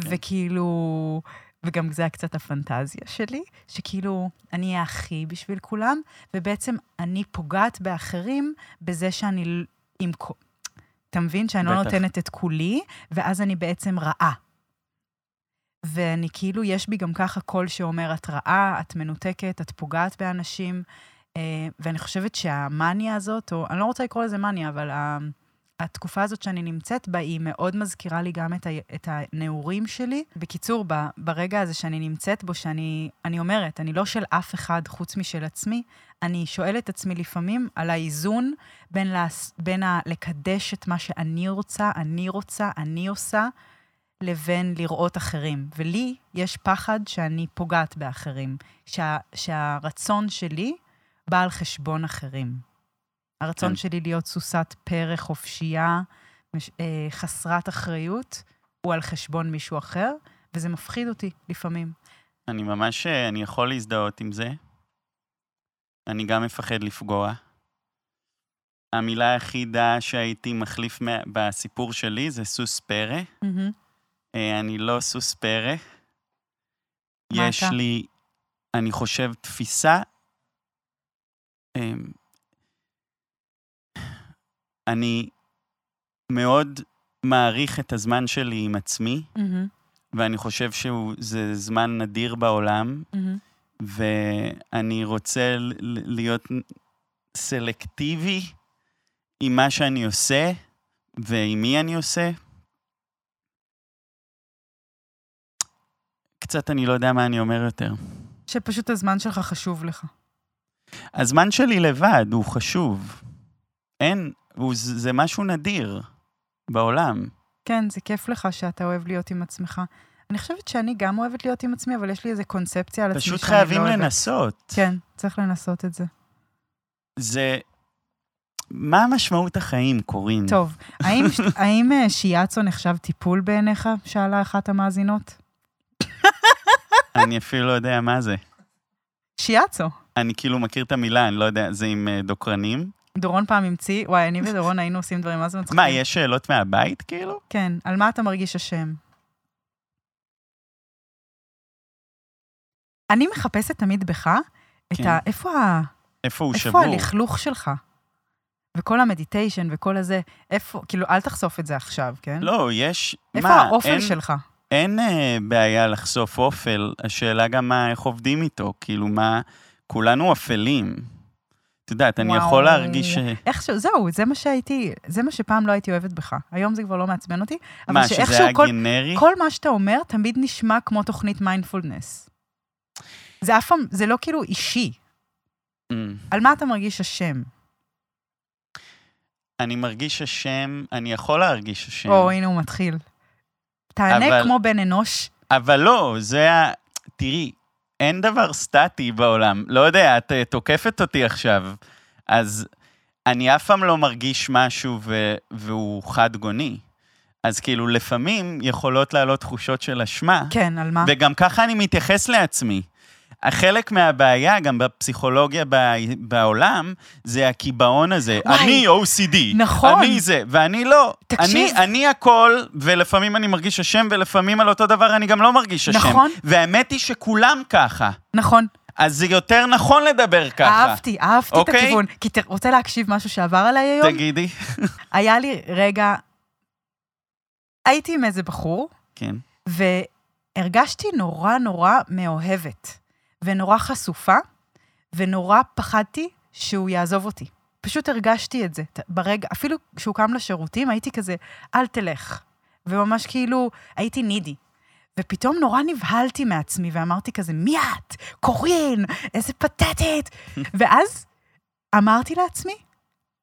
A: כן. וכאילו... וגם זה היה קצת הפנטזיה שלי, שכאילו, אני אהיה הכי בשביל כולם, ובעצם אני פוגעת באחרים בזה שאני... ל- עם... כ- אתה מבין? שאני לא
B: בטח.
A: נותנת את כולי, ואז אני בעצם רעה. ואני כאילו, יש בי גם ככה קול שאומר, את רעה, את מנותקת, את פוגעת באנשים, אה, ואני חושבת שהמאניה הזאת, או אני לא רוצה לקרוא לזה מאניה, אבל ה- התקופה הזאת שאני נמצאת בה, היא מאוד מזכירה לי גם את, ה, את הנעורים שלי. בקיצור, ב, ברגע הזה שאני נמצאת בו, שאני אני אומרת, אני לא של אף אחד חוץ משל עצמי, אני שואלת את עצמי לפעמים על האיזון בין, לעס, בין ה, לקדש את מה שאני רוצה, אני רוצה, אני עושה, לבין לראות אחרים. ולי יש פחד שאני פוגעת באחרים, שה, שהרצון שלי בא על חשבון אחרים. הרצון
B: כן.
A: שלי להיות סוסת פרא חופשייה, מש- אה, חסרת אחריות, הוא על חשבון מישהו אחר, וזה מפחיד אותי לפעמים.
B: אני ממש, אה, אני יכול להזדהות עם זה. אני גם מפחד לפגוע. המילה היחידה שהייתי מחליף מה- בסיפור שלי זה סוס פרא.
A: מהמם.
B: אה, אני לא סוס פרא.
A: מה
B: יש
A: אתה?
B: לי, אני חושב, תפיסה... אמ, אני מאוד מעריך את הזמן שלי עם עצמי,
A: מהמם.
B: ואני חושב שזה זמן נדיר בעולם,
A: מהמם.
B: ואני רוצה ל- ל- להיות סלקטיבי עם מה שאני עושה ועם מי אני עושה. קצת אני לא יודע מה אני אומר יותר.
A: שפשוט הזמן שלך חשוב לך.
B: הזמן שלי לבד הוא חשוב. אין, הוא, זה זה משהו נדיר בעולם.
A: כן, זה כיף לך שאתה אוהב להיות עם עצמך. אני חושבת שאני גם אוהבת להיות עם עצמי, אבל יש לי איזו קונספציה על עצמי שאני לא
B: פשוט
A: אוהבת.
B: חייבים לנסות. Mm.
A: כן, צריך לנסות את זה.
B: זה... מה משמעות החיים, קורין?
A: טוב, האם,
B: <laughs>
A: האם אה, שיאצו נחשב טיפול בעיניך? שאלה אחת המאזינות.
B: אני אפילו לא יודע מה זה.
A: שיאצו.
B: אני כאילו מכיר את המילה, אני לא יודע, זה עם אה, דוקרנים.
A: דורון פעם המציא, וואי, אני ודורון היינו עושים דברים, מה זה מצחיק?
B: מה, יש שאלות מהבית כאילו?
A: כן, על מה אתה מרגיש אשם? אני מחפשת תמיד בך את
B: כן.
A: ה... איפה ה...
B: איפה הוא
A: איפה
B: שבור?
A: הלכלוך שלך? וכל המדיטיישן וכל הזה, איפה, כאילו, אל תחשוף את זה עכשיו, כן?
B: לא, יש...
A: איפה
B: מה,
A: האופל
B: אין-
A: שלך?
B: אין אה, בעיה לחשוף אופל, השאלה גם מה, איך עובדים איתו, כאילו מה, כולנו אפלים. את יודעת, אני
A: וואו.
B: יכול להרגיש... ש-
A: איכשהו, זהו, זה מה שהייתי, זה מה שפעם לא הייתי אוהבת בך. היום זה כבר לא מעצבן אותי, אבל
B: מה, שזה
A: שאיכשהו
B: היה
A: כל,
B: גנרי?
A: כל מה שאתה אומר תמיד נשמע כמו תוכנית מיינדפולנס. זה אף פעם, זה לא כאילו אישי.
B: אמ,
A: על מה אתה מרגיש אשם?
B: אני מרגיש אשם, אני יכול להרגיש אשם.
A: או, הנה הוא מתחיל. תענה
B: כן. אבל-
A: כמו בן אנוש
B: אבל לא, זה ה... תראי, אין דבר סטטי בעולם. לא יודע, את אה, תוקפת אותי עכשיו, אז אני אף פעם לא מרגיש משהו ו... והוא חד-גוני. אז כאילו, לפעמים יכולות לעלות תחושות של אשמה.
A: כן, על מה?
B: וגם ככה אני מתייחס לעצמי. חלק מהבעיה, גם בפסיכולוגיה ב- בעולם, זה הקיבעון הזה.
A: וואי,
B: אני OCD.
A: נכון.
B: אני זה, ואני לא.
A: תקשיב.
B: אני, אני הכל, ולפעמים אני מרגיש אשם, ולפעמים על אותו דבר אני גם לא מרגיש אשם.
A: נכון.
B: והאמת היא שכולם ככה.
A: נכון.
B: אז זה יותר נכון לדבר ככה.
A: אהבתי, אהבתי את
B: אוקיי.
A: הכיוון. כי אתה רוצה להקשיב משהו שעבר עליי היום?
B: תגידי.
A: היה לי רגע... הייתי עם איזה בחור,
B: כן.
A: והרגשתי נורא נורא מאוהבת, ונורא חשופה, ונורא פחדתי שהוא יעזוב אותי. פשוט הרגשתי את זה. ת- ברגע, אפילו כשהוא קם לשירותים, הייתי כזה, אל תלך. וממש כאילו, הייתי נידי. ופתאום נורא נבהלתי מעצמי, ואמרתי כזה, מי את? קורין, איזה פתטית. ואז אמרתי לעצמי,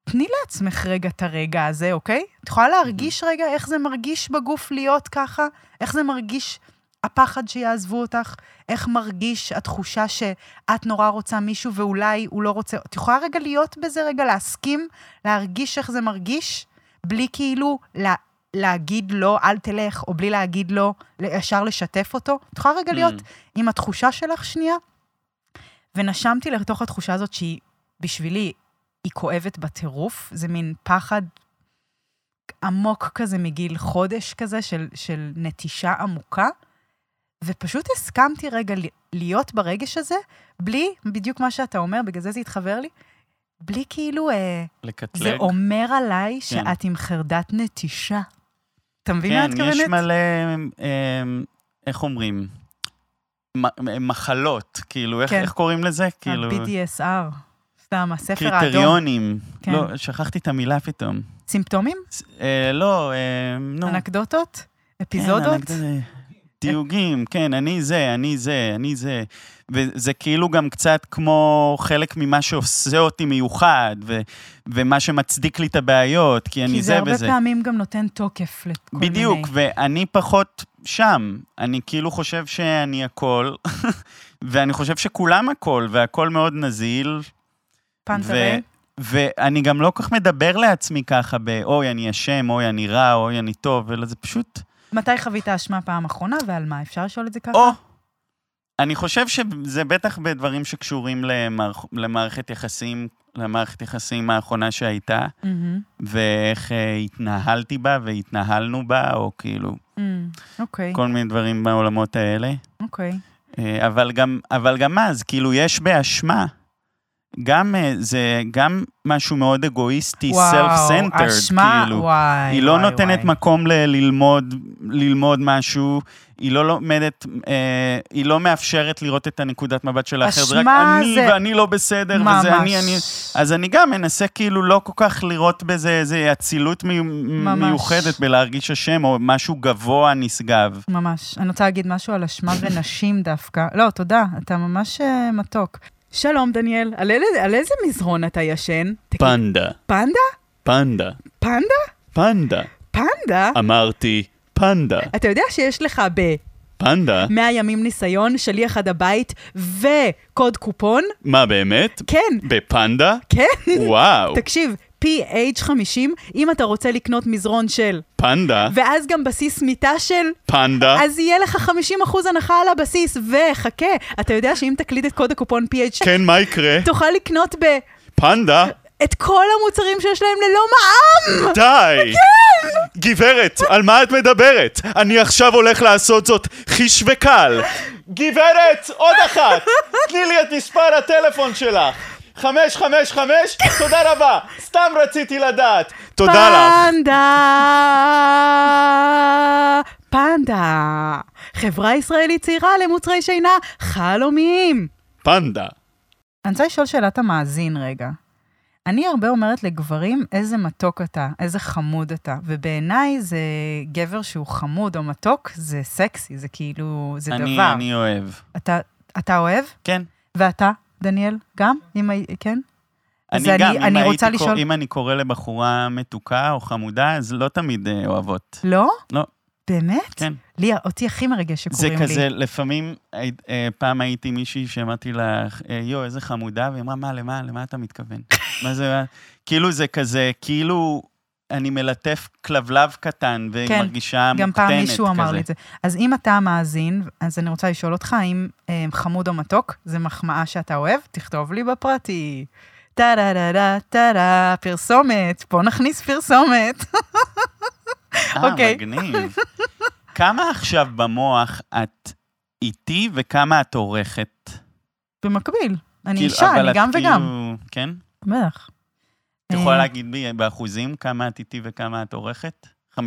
A: תני לעצמך רגע את הרגע הזה, אוקיי? את יכולה להרגיש רגע איך זה מרגיש בגוף להיות ככה? איך זה מרגיש הפחד שיעזבו אותך? איך מרגיש התחושה שאת נורא רוצה מישהו ואולי הוא לא רוצה... את יכולה רגע להיות בזה, רגע להסכים, להרגיש איך זה מרגיש, בלי כאילו לה, להגיד לו, אל תלך, או בלי להגיד לו, ישר לשתף אותו? את יכולה רגע
B: Hmm.
A: להיות עם התחושה שלך שנייה? ונשמתי לתוך התחושה הזאת שהיא, בשבילי, היא כואבת בטירוף, זה מין פחד עמוק כזה מגיל חודש כזה, של, של נטישה עמוקה, ופשוט הסכמתי רגע ל- להיות ברגש הזה, בלי, בדיוק מה שאתה אומר, בגלל זה זה התחבר לי, בלי כאילו, אה,
B: לקטלג.
A: זה אומר
B: כן.
A: עליי שאת עם חרדת נטישה. אתה מבין מה
B: כן,
A: את
B: יש
A: מתכוונת?
B: מלא, אמ, איך אומרים? מ- מחלות, כאילו, איך
A: כן.
B: איך קוראים לזה? כאילו...
A: ה-BDSR, סתם, הספר האדום.
B: קריטריונים.
A: כן.
B: לא, שכחתי את המילה פתאום.
A: סימפטומים?
B: ס- אה, לא, אה, נו.
A: אנקדוטות?
B: כן,
A: אפיזודות?
B: אנקדוטה. תיוגים, כן, אני זה, אני זה, אני זה. וזה כאילו גם קצת כמו חלק ממה שעושה אותי מיוחד, ו- ומה שמצדיק לי את הבעיות, כי אני
A: כי
B: זה
A: זה
B: וזה.
A: הרבה פעמים גם נותן תוקף לכל מיני...
B: בדיוק, ואני פחות שם. אני כאילו חושב שאני הכל, <laughs> ואני חושב שכולם הכל, והכל מאוד נזיל.
A: פנתרי?
B: ואני גם לא כל כך מדבר לעצמי ככה ב"אוי, אני אשם", "אוי, אני רע", "אוי, אני טוב", אלא זה פשוט...
A: מתי חווית אשמה פעם אחרונה ועל מה? אפשר לשאול את זה ככה?
B: או! אני חושב שזה בטח בדברים שקשורים למערכ... למערכת יחסים, למערכת יחסים האחרונה שהייתה,
A: מהמם.
B: ואיך אה, התנהלתי בה והתנהלנו בה, או כאילו,
A: מ, אוקיי,
B: כל מיני דברים בעולמות האלה.
A: אוקיי.
B: אה, אבל גם, אבל גם אז, כאילו, יש באשמה. גם אה, זה גם משהו מאוד אגואיסטי, self-centered,
A: אשמה,
B: כאילו.
A: וואי,
B: היא לא
A: וואי,
B: נותנת
A: וואי.
B: מקום ל- ללמוד, ללמוד משהו, היא לא לומדת, אה, היא לא מאפשרת לראות את הנקודת מבט של האחר, זה רק
A: אשמה
B: אני
A: זה-
B: ואני לא בסדר,
A: ממש.
B: וזה אני, אני... אז אני גם מנסה כאילו לא כל כך לראות בזה איזה אצילות מי... מיוחדת בלהרגיש אשם, או משהו גבוה נשגב.
A: ממש. אני רוצה להגיד משהו על אשמה ונשים דווקא. לא, תודה, אתה ממש אה, מתוק. שלום, דניאל. על איזה- על איזה מזרון אתה ישן? תגיד,
D: פנדה,
A: פנדה?
D: פנדה,
A: פנדה?
D: פנדה.
A: פנדה?
D: אמרתי, פנדה,
A: אתה יודע שיש לך ב...
D: פנדה.
A: 100 ימים ניסיון, שליח עד הבית וקוד קופון?
D: מה באמת?
A: כן,
D: בפנדה?
A: כן.
D: וואו,
A: תקשיב, PH 50, אם אתה רוצה לקנות מזרון של,
D: פנדה,
A: ואז גם בסיס מיטה של,
D: פנדה.
A: אז יהיה לך 50% הנחה על הבסיס, וחכה, אתה יודע שאם תקליד את קוד הקופון PH,
D: כן, מה יקרה?
A: תוכל לקנות ב...
D: פנדה?
A: את כל המוצרים שיש להם ללא מע"מ! <laughs>
D: די!
A: כן!
D: גברת, על מה את מדברת? אני עכשיו הולך לעשות זאת חיש וקל. גברת, עוד אחת! תני לי את מספר הטלפון שלך. חמש, חמש, חמש, תודה רבה. סתם רציתי לדעת. תודה לך.
A: פנדה! פנדה! חברה ישראלית צעירה למוצרי שינה חלומיים!
D: פנדה.
A: אני רוצה לשאול שאלת המאזין רגע. אני הרבה אומרת לגברים, איזה מתוק אתה, איזה חמוד אתה. ובעיניי זה גבר שהוא חמוד או מתוק, זה סקסי, זה כאילו, זה
B: אני,
A: דבר.
B: אני אוהב.
A: אתה, אתה אוהב?
B: כן.
A: ואתה, דניאל, גם? אם, הי- כן? אז
B: אני גם,
A: אני-
B: אם,
A: אני
B: הייתי
A: רוצה
B: קור-
A: לשאול-
B: אם אני קורא לבחורה מתוקה או חמודה, אז לא תמיד אה, אוהבות.
A: לא?
B: לא.
A: באמת?
B: כן.
A: לי, אותי הכי מרגש
B: זה
A: שקוראים לי.
B: כזה, לפעמים, אה, אה, פעם הייתי מישהי שאמרתי לה, אה, יואו, איזה חמודה, והיא אמרה, מה, למה, למה אתה מתכוון? <laughs> מה זה, מה?" כאילו זה כזה, כאילו אני מלטף כלבלב קטן,
A: כן,
B: ומרגישה מוקטנת כזה.
A: גם פעם מישהו אמר לי את זה. אז אם אתה המאזין, אז אני רוצה לשאול אותך, האם אה, חמוד או מתוק, זה מחמאה שאתה אוהב? תכתוב לי בפרטי. טה דה דה דה טה דה, פרסומת, פה נכניס פרסומת. <laughs> אוקיי.
B: אה, מגניב. כמה עכשיו במוח את איתי וכמה את עורכת?
A: במקביל, אני
B: כאילו,
A: אישה,
B: אבל
A: אני
B: את
A: גם וגם.
B: כאילו- כן?
A: בטח.
B: את יכולה
A: אה,
B: להגיד לי באחוזים כמה את איתי וכמה את עורכת? 50-50?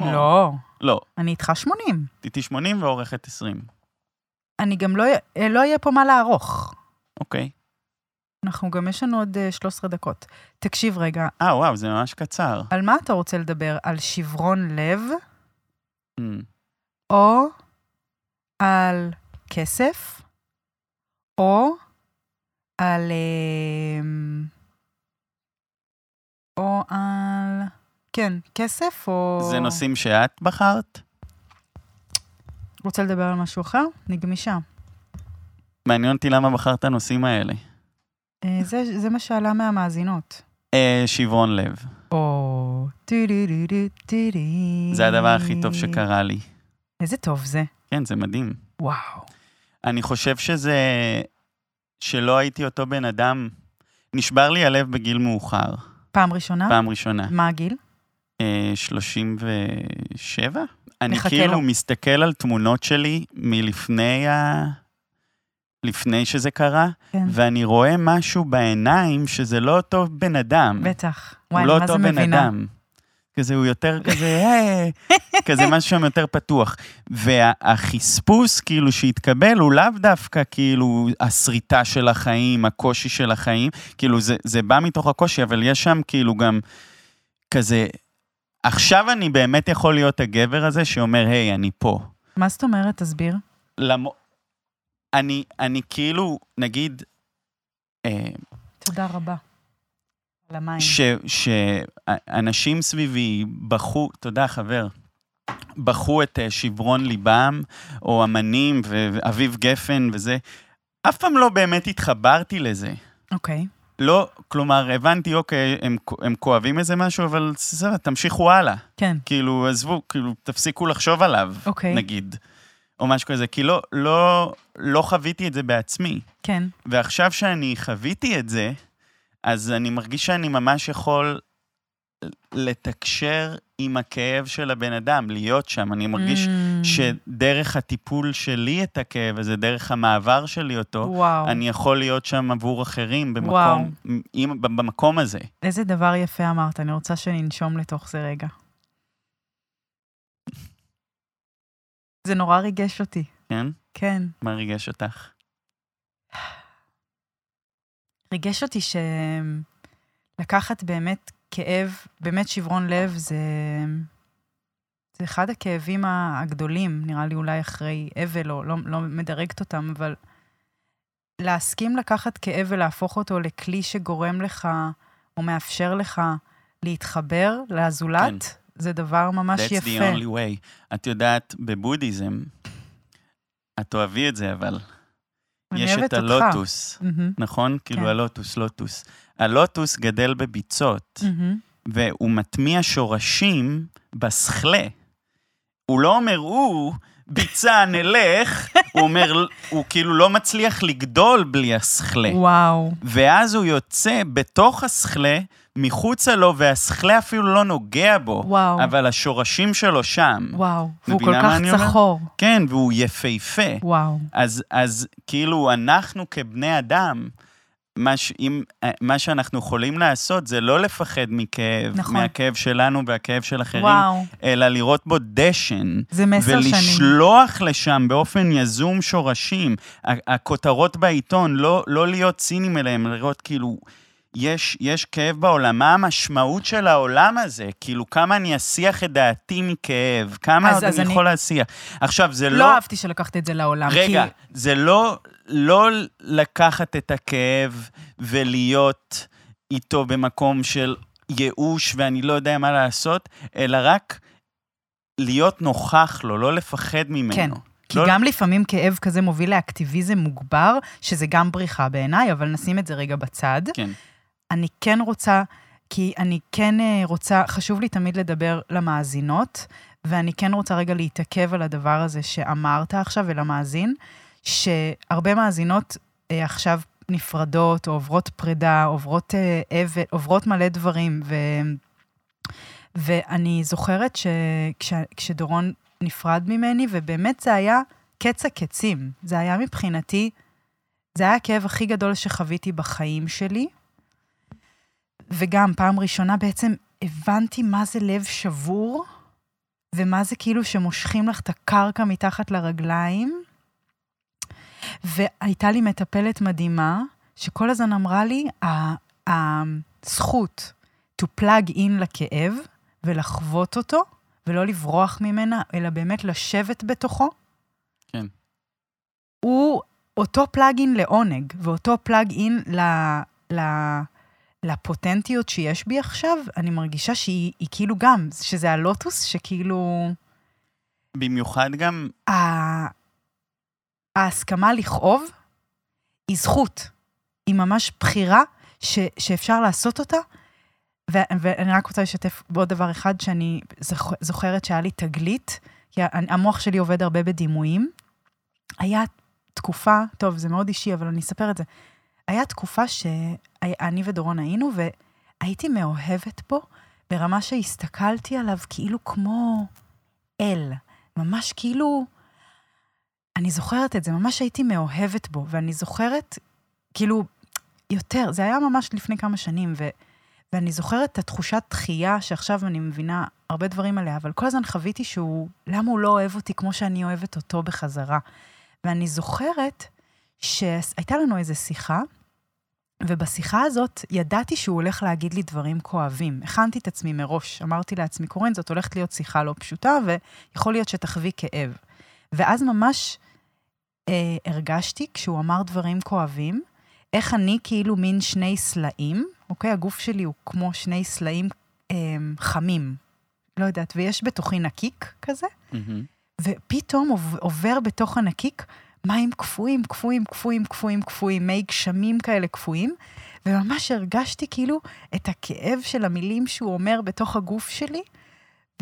B: או-
A: לא,
B: לא,
A: אני איתך 80.
B: איתי 80 ועורכת 20.
A: אני גם לא, אה, לא יהיה פה מה לערוך.
B: אוקיי.
A: אנחנו גם, יש לנו עוד אה, 13 דקות. תקשיב רגע,
B: אה, וואו, זה ממש קצר.
A: על מה אתה רוצה לדבר? על שברון לב, אה.
B: אמ,
A: או על כסף, או על... אמ, או על... כן, כסף, או...
B: זה נושאים שאת בחרת?
A: רוצה לדבר על משהו אחר? נגמישה.
B: מעניין אותי למה בחרת את הנושאים האלה.
A: אה, זה, זה מה שעלה מהמאזינות.
B: אה, שברון לב.
A: או... טי-די-די-די-די-די.
B: זה הדבר הכי
A: Mm.
B: טוב שקרה לי.
A: איזה טוב זה.
B: כן, זה מדהים.
A: וואו.
B: אני חושב שזה... שלא הייתי אותו בן אדם. נשבר לי הלב בגיל מאוחר,
A: פעם ראשונה?
B: פעם ראשונה.
A: מה הגיל?
B: אה, 37? אני
A: נחכה
B: כאילו
A: לו.
B: מסתכל על תמונות שלי מלפני ה... לפני שזה קרה,
A: כן.
B: ואני רואה משהו בעיניים שזה לא אותו בן אדם.
A: בטח.
B: הוא
A: וואי,
B: לא
A: מה זה
B: אותו בן
A: מבינה?
B: אדם. כזה, הוא יותר כזה, "היי", כזה משהו שם יותר פתוח. והחספוס כאילו שהתקבל הוא לאו דווקא כאילו הסריטה של החיים, הקושי של החיים, כאילו זה, זה בא מתוך הקושי, אבל יש שם כאילו גם כזה, עכשיו אני באמת יכול להיות הגבר הזה שאומר, היי, אני פה.
A: מה זאת אומרת? תסביר.
B: למו... אני, אני כאילו, נגיד, אה,
A: תודה רבה. על המים.
B: שאנשים סביבי בכו, תודה חבר, בכו את אה, שברון ליבם, או אמנים ואביב גפן וזה, אף פעם לא באמת התחברתי לזה.
A: אוקיי.
B: לא, כלומר, הבנתי, אוקיי, הם, הם כואבים איזה משהו, אבל סבבה, תמשיכו הלאה.
A: כן.
B: כאילו, עזבו, כאילו, תפסיקו לחשוב עליו,
A: אוקיי.
B: נגיד, או משהו כזה, כי לא, לא, לא חוויתי את זה בעצמי.
A: כן.
B: ועכשיו שאני חוויתי את זה, אז אני מרגיש שאני ממש יכול לתקשר עם הכאב של הבן אדם, להיות שם. אני מרגיש
A: Mm,
B: שדרך הטיפול שלי את הכאב הזה, דרך המעבר שלי אותו,
A: וואו.
B: לא, אני יכול להיות שם עבור אחרים
A: וואו.
B: במקום, עם, במקום הזה.
A: איזה דבר יפה אמרת, אני רוצה שננשום לתוך זה רגע. זה נורא ריגש אותי.
B: כן?
A: כן.
B: מה ריגש אותך?
A: ריגש אותי שלקחת באמת כאב, באמת שברון לב, זה... זה אחד הכאבים ה- הגדולים, נראה לי אולי אחרי אבל, או לא, לא מדרגת אותם, אבל להסכים לקחת כאב ולהפוך אותו לכלי שגורם לך, או מאפשר לך להתחבר לזולת, כן. זה דבר ממש
B: That's
A: יפה.
B: the only way. את יודעת, בבודהיזם, את אוהבי את זה, אבל
A: אני
B: יש
A: אוהבת
B: את
A: אותך.
B: הלוטוס.
A: מהמם,
B: נכון? כאילו
A: כן.
B: הלוטוס, לוטוס. הלוטוס גדל בביצות,
A: מהמם.
B: והוא מטמיע שורשים בסכלה. הוא לא אומר, הוא, ביצה, נלך, הוא אומר, הוא כאילו לא מצליח לגדול בלי הסכלה.
A: וואו,
B: ואז הוא יוצא בתוך הסכלה, מחוצה לו, והסכלה אפילו לא נוגע בו.
A: וואו.
B: אבל השורשים שלו שם.
A: וואו. והוא כל
B: מבינה מה
A: כך
B: אני אומר?
A: צחור.
B: כן, והוא יפהפה.
A: וואו.
B: אז, אז כאילו, אנחנו כבני אדם, מה, ש, אם, אה, מה שאנחנו יכולים לעשות זה לא לפחד מכאב,
A: נכון.
B: מהכאב שלנו והכאב של אחרים,
A: וואו.
B: אלא לראות בו דשן.
A: זה מסר שאני...
B: ולשלוח לשם באופן יזום שורשים. ה- הכותרות בעיתון, לא, לא להיות ציניים אליהם, לראות כאילו, יש, יש כאב בעולם, מה המשמעות של העולם הזה? כאילו, כמה אני אסיח את דעתי מכאב, כמה
A: אז-
B: עוד
A: אז
B: אני
A: אני-
B: יכול להסיח. עכשיו, זה
A: לא אהבתי שלקחת את זה לעולם.
B: רגע,
A: כי...
B: זה לא, לא לקחת את הכאב ולהיות איתו במקום של ייאוש ואני לא יודע מה לעשות, אלא רק להיות נוכח לו, לא לפחד ממנו.
A: כן. כי
B: לא-
A: גם לפעמים כאב כזה מוביל לאקטיביזם מוגבר, שזה גם בריחה בעיניי, אבל נשים את זה רגע בצד.
B: כן.
A: אני כן רוצה, כי אני כן אה, רוצה, חשוב לי תמיד לדבר למאזינות, ואני כן רוצה רגע להתעכב על הדבר הזה שאמרת עכשיו ולמאזין, שהרבה מאזינות אה, עכשיו נפרדות, או עוברות פרידה, עוברות, אה, אבל, עוברות מלא דברים, ו... ואני זוכרת שכשדורון נפרד ממני, ובאמת זה היה קץ הקצים. זה היה מבחינתי, זה היה הכאב הכי גדול שחוויתי בחיים שלי. וגם פעם ראשונה בעצם הבנתי מה זה לב שבור, ומה זה כאילו שמושכים לך את הקרקע מתחת לרגליים. והייתה לי מטפלת מדהימה, שכל הזמן אמרה לי, "ה- הזכות to plug in לכאב ולחוות אותו, ולא לברוח ממנה, אלא באמת לשבת בתוכו,
B: כן.
A: הוא אותו פלאגין לעונג, ואותו פלאגין ל... ל... לפוטנטיות שיש בי עכשיו, אני מרגישה שהיא היא כאילו גם, שזה הלוטוס שכאילו...
B: במיוחד גם,
A: ה- ההסכמה לכאוב היא זכות. היא ממש בחירה ש, שאפשר לעשות אותה. ו, ואני רק רוצה לשתף בעוד דבר אחד, שאני זוכ, זוכרת שהיה לי תגלית, כי ה- המוח שלי עובד הרבה בדימויים. היה תקופה, טוב, זה מאוד אישי, אבל אני אספר את זה. היה תקופה שאני ודורון היינו, והייתי מאוהבת בו ברמה שהסתכלתי עליו כאילו כמו אל. ממש כאילו... אני זוכרת את זה, ממש הייתי מאוהבת בו, ואני זוכרת, כאילו, יותר, זה היה ממש לפני כמה שנים, ו, ואני זוכרת את התחושת דחייה, שעכשיו אני מבינה הרבה דברים עליה, אבל כל הזמן חוויתי שהוא, למה הוא לא אוהב אותי כמו שאני אוהבת אותו בחזרה. ואני זוכרת שהייתה לנו איזו שיחה, ובשיחה הזאת ידעתי שהוא הולך להגיד לי דברים כואבים. הכנתי את עצמי מראש, אמרתי לעצמי, קורין, זאת הולכת להיות שיחה לא פשוטה, ויכול להיות שתחווי כאב. ואז ממש אה, הרגשתי, כשהוא אמר דברים כואבים, איך אני כאילו מין שני סלעים, אוקיי? הגוף שלי הוא כמו שני סלעים אה, חמים, לא יודעת, ויש בתוכי נקיק כזה,
B: מהמם.
A: Mm-hmm. ופתאום עוב- עובר בתוך הנקיק מים קפואים, קפואים, קפואים, קפואים, קפואים, מי גשמים כאלה קפואים, וממש הרגשתי כאילו את הכאב של המילים שהוא אומר בתוך הגוף שלי,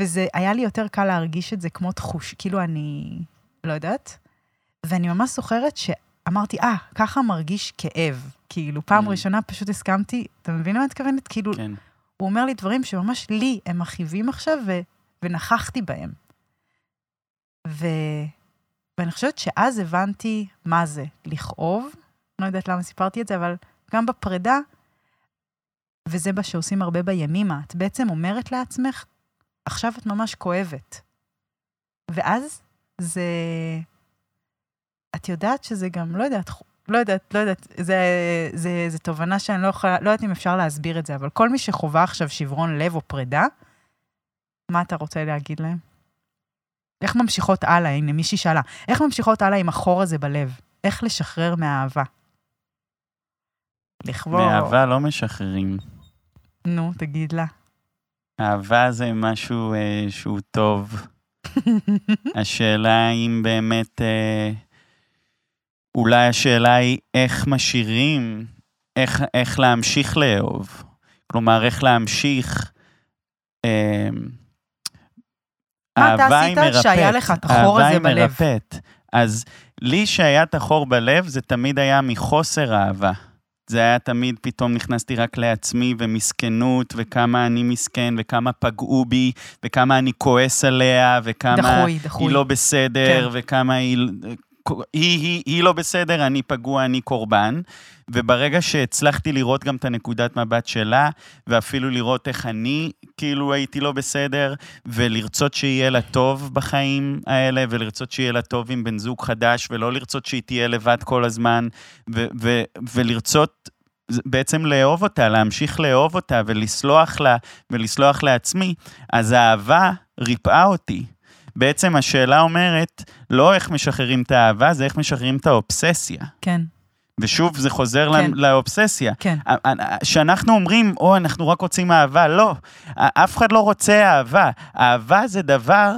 A: וזה היה לי יותר קל להרגיש את זה כמו תחוש, כאילו אני לא יודעת. ואני ממש זוכרת שאמרתי, אה, ah, ככה מרגיש כאב. כאילו, פעם
B: Mm.
A: ראשונה פשוט הסכמתי, אתה מבין למה אני מתכוונת? כאילו,
B: כן.
A: הוא אומר לי דברים שממש לי הם מכאיבים עכשיו, ו... ונכחתי בהם. ו... ואני חושבת שאז הבנתי מה זה לכאוב, לא יודעת למה סיפרתי את זה, אבל גם בפרידה, וזה מה שעושים הרבה בימימה, את בעצם אומרת לעצמך, עכשיו את ממש כואבת. ואז זה... את יודעת שזה גם, לא יודעת, לא יודעת, לא יודעת, זה, זה, זה תובנה שאני לא יכולה, לא יודעת אם אפשר להסביר את זה, אבל כל מי שחווה עכשיו שברון לב או פרידה, מה אתה רוצה להגיד להם? איך ממשיכות הלאה? הנה, מישהי שאלה. איך ממשיכות הלאה עם החור הזה בלב? איך לשחרר מהאהבה? לכבוד.
B: מאהבה לא משחררים.
A: נו, תגיד לה.
B: אהבה זה משהו אה, שהוא טוב.
A: <laughs>
B: השאלה אם באמת, אה, אולי השאלה היא איך משאירים, איך, איך להמשיך לאהוב. כלומר, איך להמשיך... אה,
A: מה אתה
B: אהבה היא
A: עשית שהיה
B: מרפאת.
A: לך את החור הזה
B: אהבה היא
A: בלב?
B: מרפאת. אז לי שהיה את החור בלב, זה תמיד היה מחוסר אהבה. זה היה תמיד, פתאום נכנסתי רק לעצמי ומסכנות, וכמה אני מסכן, וכמה פגעו בי, וכמה אני כועס עליה, וכמה...
A: דחוי, דחוי.
B: היא לא בסדר,
A: כן.
B: וכמה היא... היא, היא, היא לא בסדר, אני פגוע, אני קורבן. וברגע שהצלחתי לראות גם את הנקודת מבט שלה, ואפילו לראות איך אני כאילו הייתי לא בסדר, ולרצות שיהיה לה טוב בחיים האלה, ולרצות שיהיה לה טוב עם בן זוג חדש, ולא לרצות שהיא תהיה לבד כל הזמן, ו- ו- ולרצות זה- בעצם לאהוב אותה, להמשיך לאהוב אותה, ולסלוח לה, ולסלוח לעצמי, אז האהבה ריפאה אותי. בעצם השאלה אומרת, לא איך משחררים את האהבה, זה איך משחררים את האובססיה.
A: כן,
B: ושוב, זה חוזר
A: כן.
B: כן. לאובססיה.
A: כן.
B: שאנחנו אומרים, או, אנחנו רק רוצים אהבה, לא. אף אחד לא רוצה אהבה. אהבה זה דבר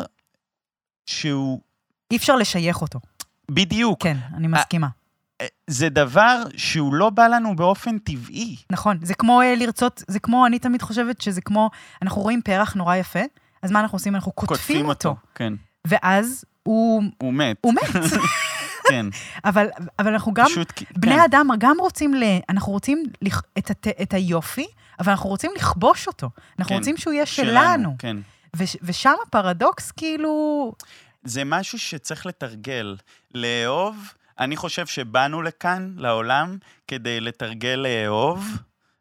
B: שהוא
A: אי אפשר לשייך אותו.
B: בדיוק,
A: כן, אני מסכימה.
B: אה, זה דבר שהוא לא בא לנו באופן טבעי.
A: נכון, זה כמו אה, לרצות, זה כמו, אני תמיד חושבת שזה כמו, אנחנו רואים פרח נורא יפה, אז מה אנחנו עושים? אנחנו קוטפים,
B: קוטפים
A: אותו.
B: אותו. כן,
A: ואז הוא,
B: הוא מת,
A: הוא
B: <laughs>
A: מת.
B: כן.
A: אבל, אבל אנחנו גם,
B: פשוט, כי-
A: בני
B: כן.
A: אדם גם רוצים, ל, אנחנו רוצים לכ, את, הת, את היופי, אבל אנחנו רוצים לכבוש אותו. אנחנו
B: כן,
A: רוצים שהוא יהיה שלנו.
B: כן.
A: וש, ושם הפרדוקס כאילו...
B: זה משהו שצריך לתרגל. לאהוב, אני חושב שבאנו לכאן, לעולם, כדי לתרגל לאהוב,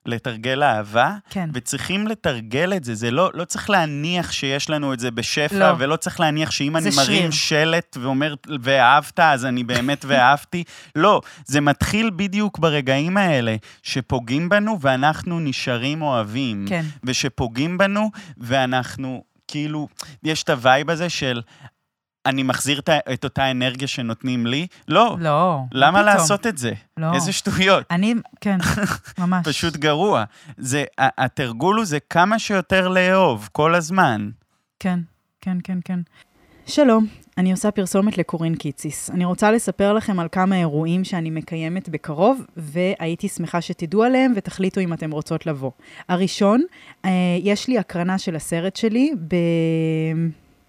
B: לתרגל אהבה,
A: כן.
B: וצריכים לתרגל את זה. זה לא, לא צריך להניח שיש לנו את זה בשפע,
A: לא.
B: ולא צריך להניח שאם
A: זה
B: אני
A: שריר.
B: מרים שלט ואומר, ואהבת, אז אני
A: <laughs>
B: באמת ואהבתי. לא, זה מתחיל בדיוק ברגעים האלה, שפוגעים בנו ואנחנו נשארים אוהבים.
A: כן.
B: ושפוגעים בנו, ואנחנו, כאילו, יש את הווייב הזה של אני מחזיר את, ה- את אותה אנרגיה שנותנים לי. לא, לא
A: לא.
B: למה
A: פתאום.
B: לעשות את זה?
A: לא.
B: איזה
A: <laughs>
B: שטויות,
A: אני,
B: <laughs>
A: כן, ממש.
B: פשוט גרוע. זה, ה- התרגול הוא זה כמה שיותר לאהוב, כל הזמן.
A: כן, כן, כן, כן. שלום, אני עושה פרסומת לקורין קיציס. אני רוצה לספר לכם על כמה אירועים שאני מקיימת בקרוב, והייתי שמחה שתדעו עליהם ותחליטו אם אתם רוצות לבוא. הראשון, אה, יש לי הקרנה של הסרט שלי ב...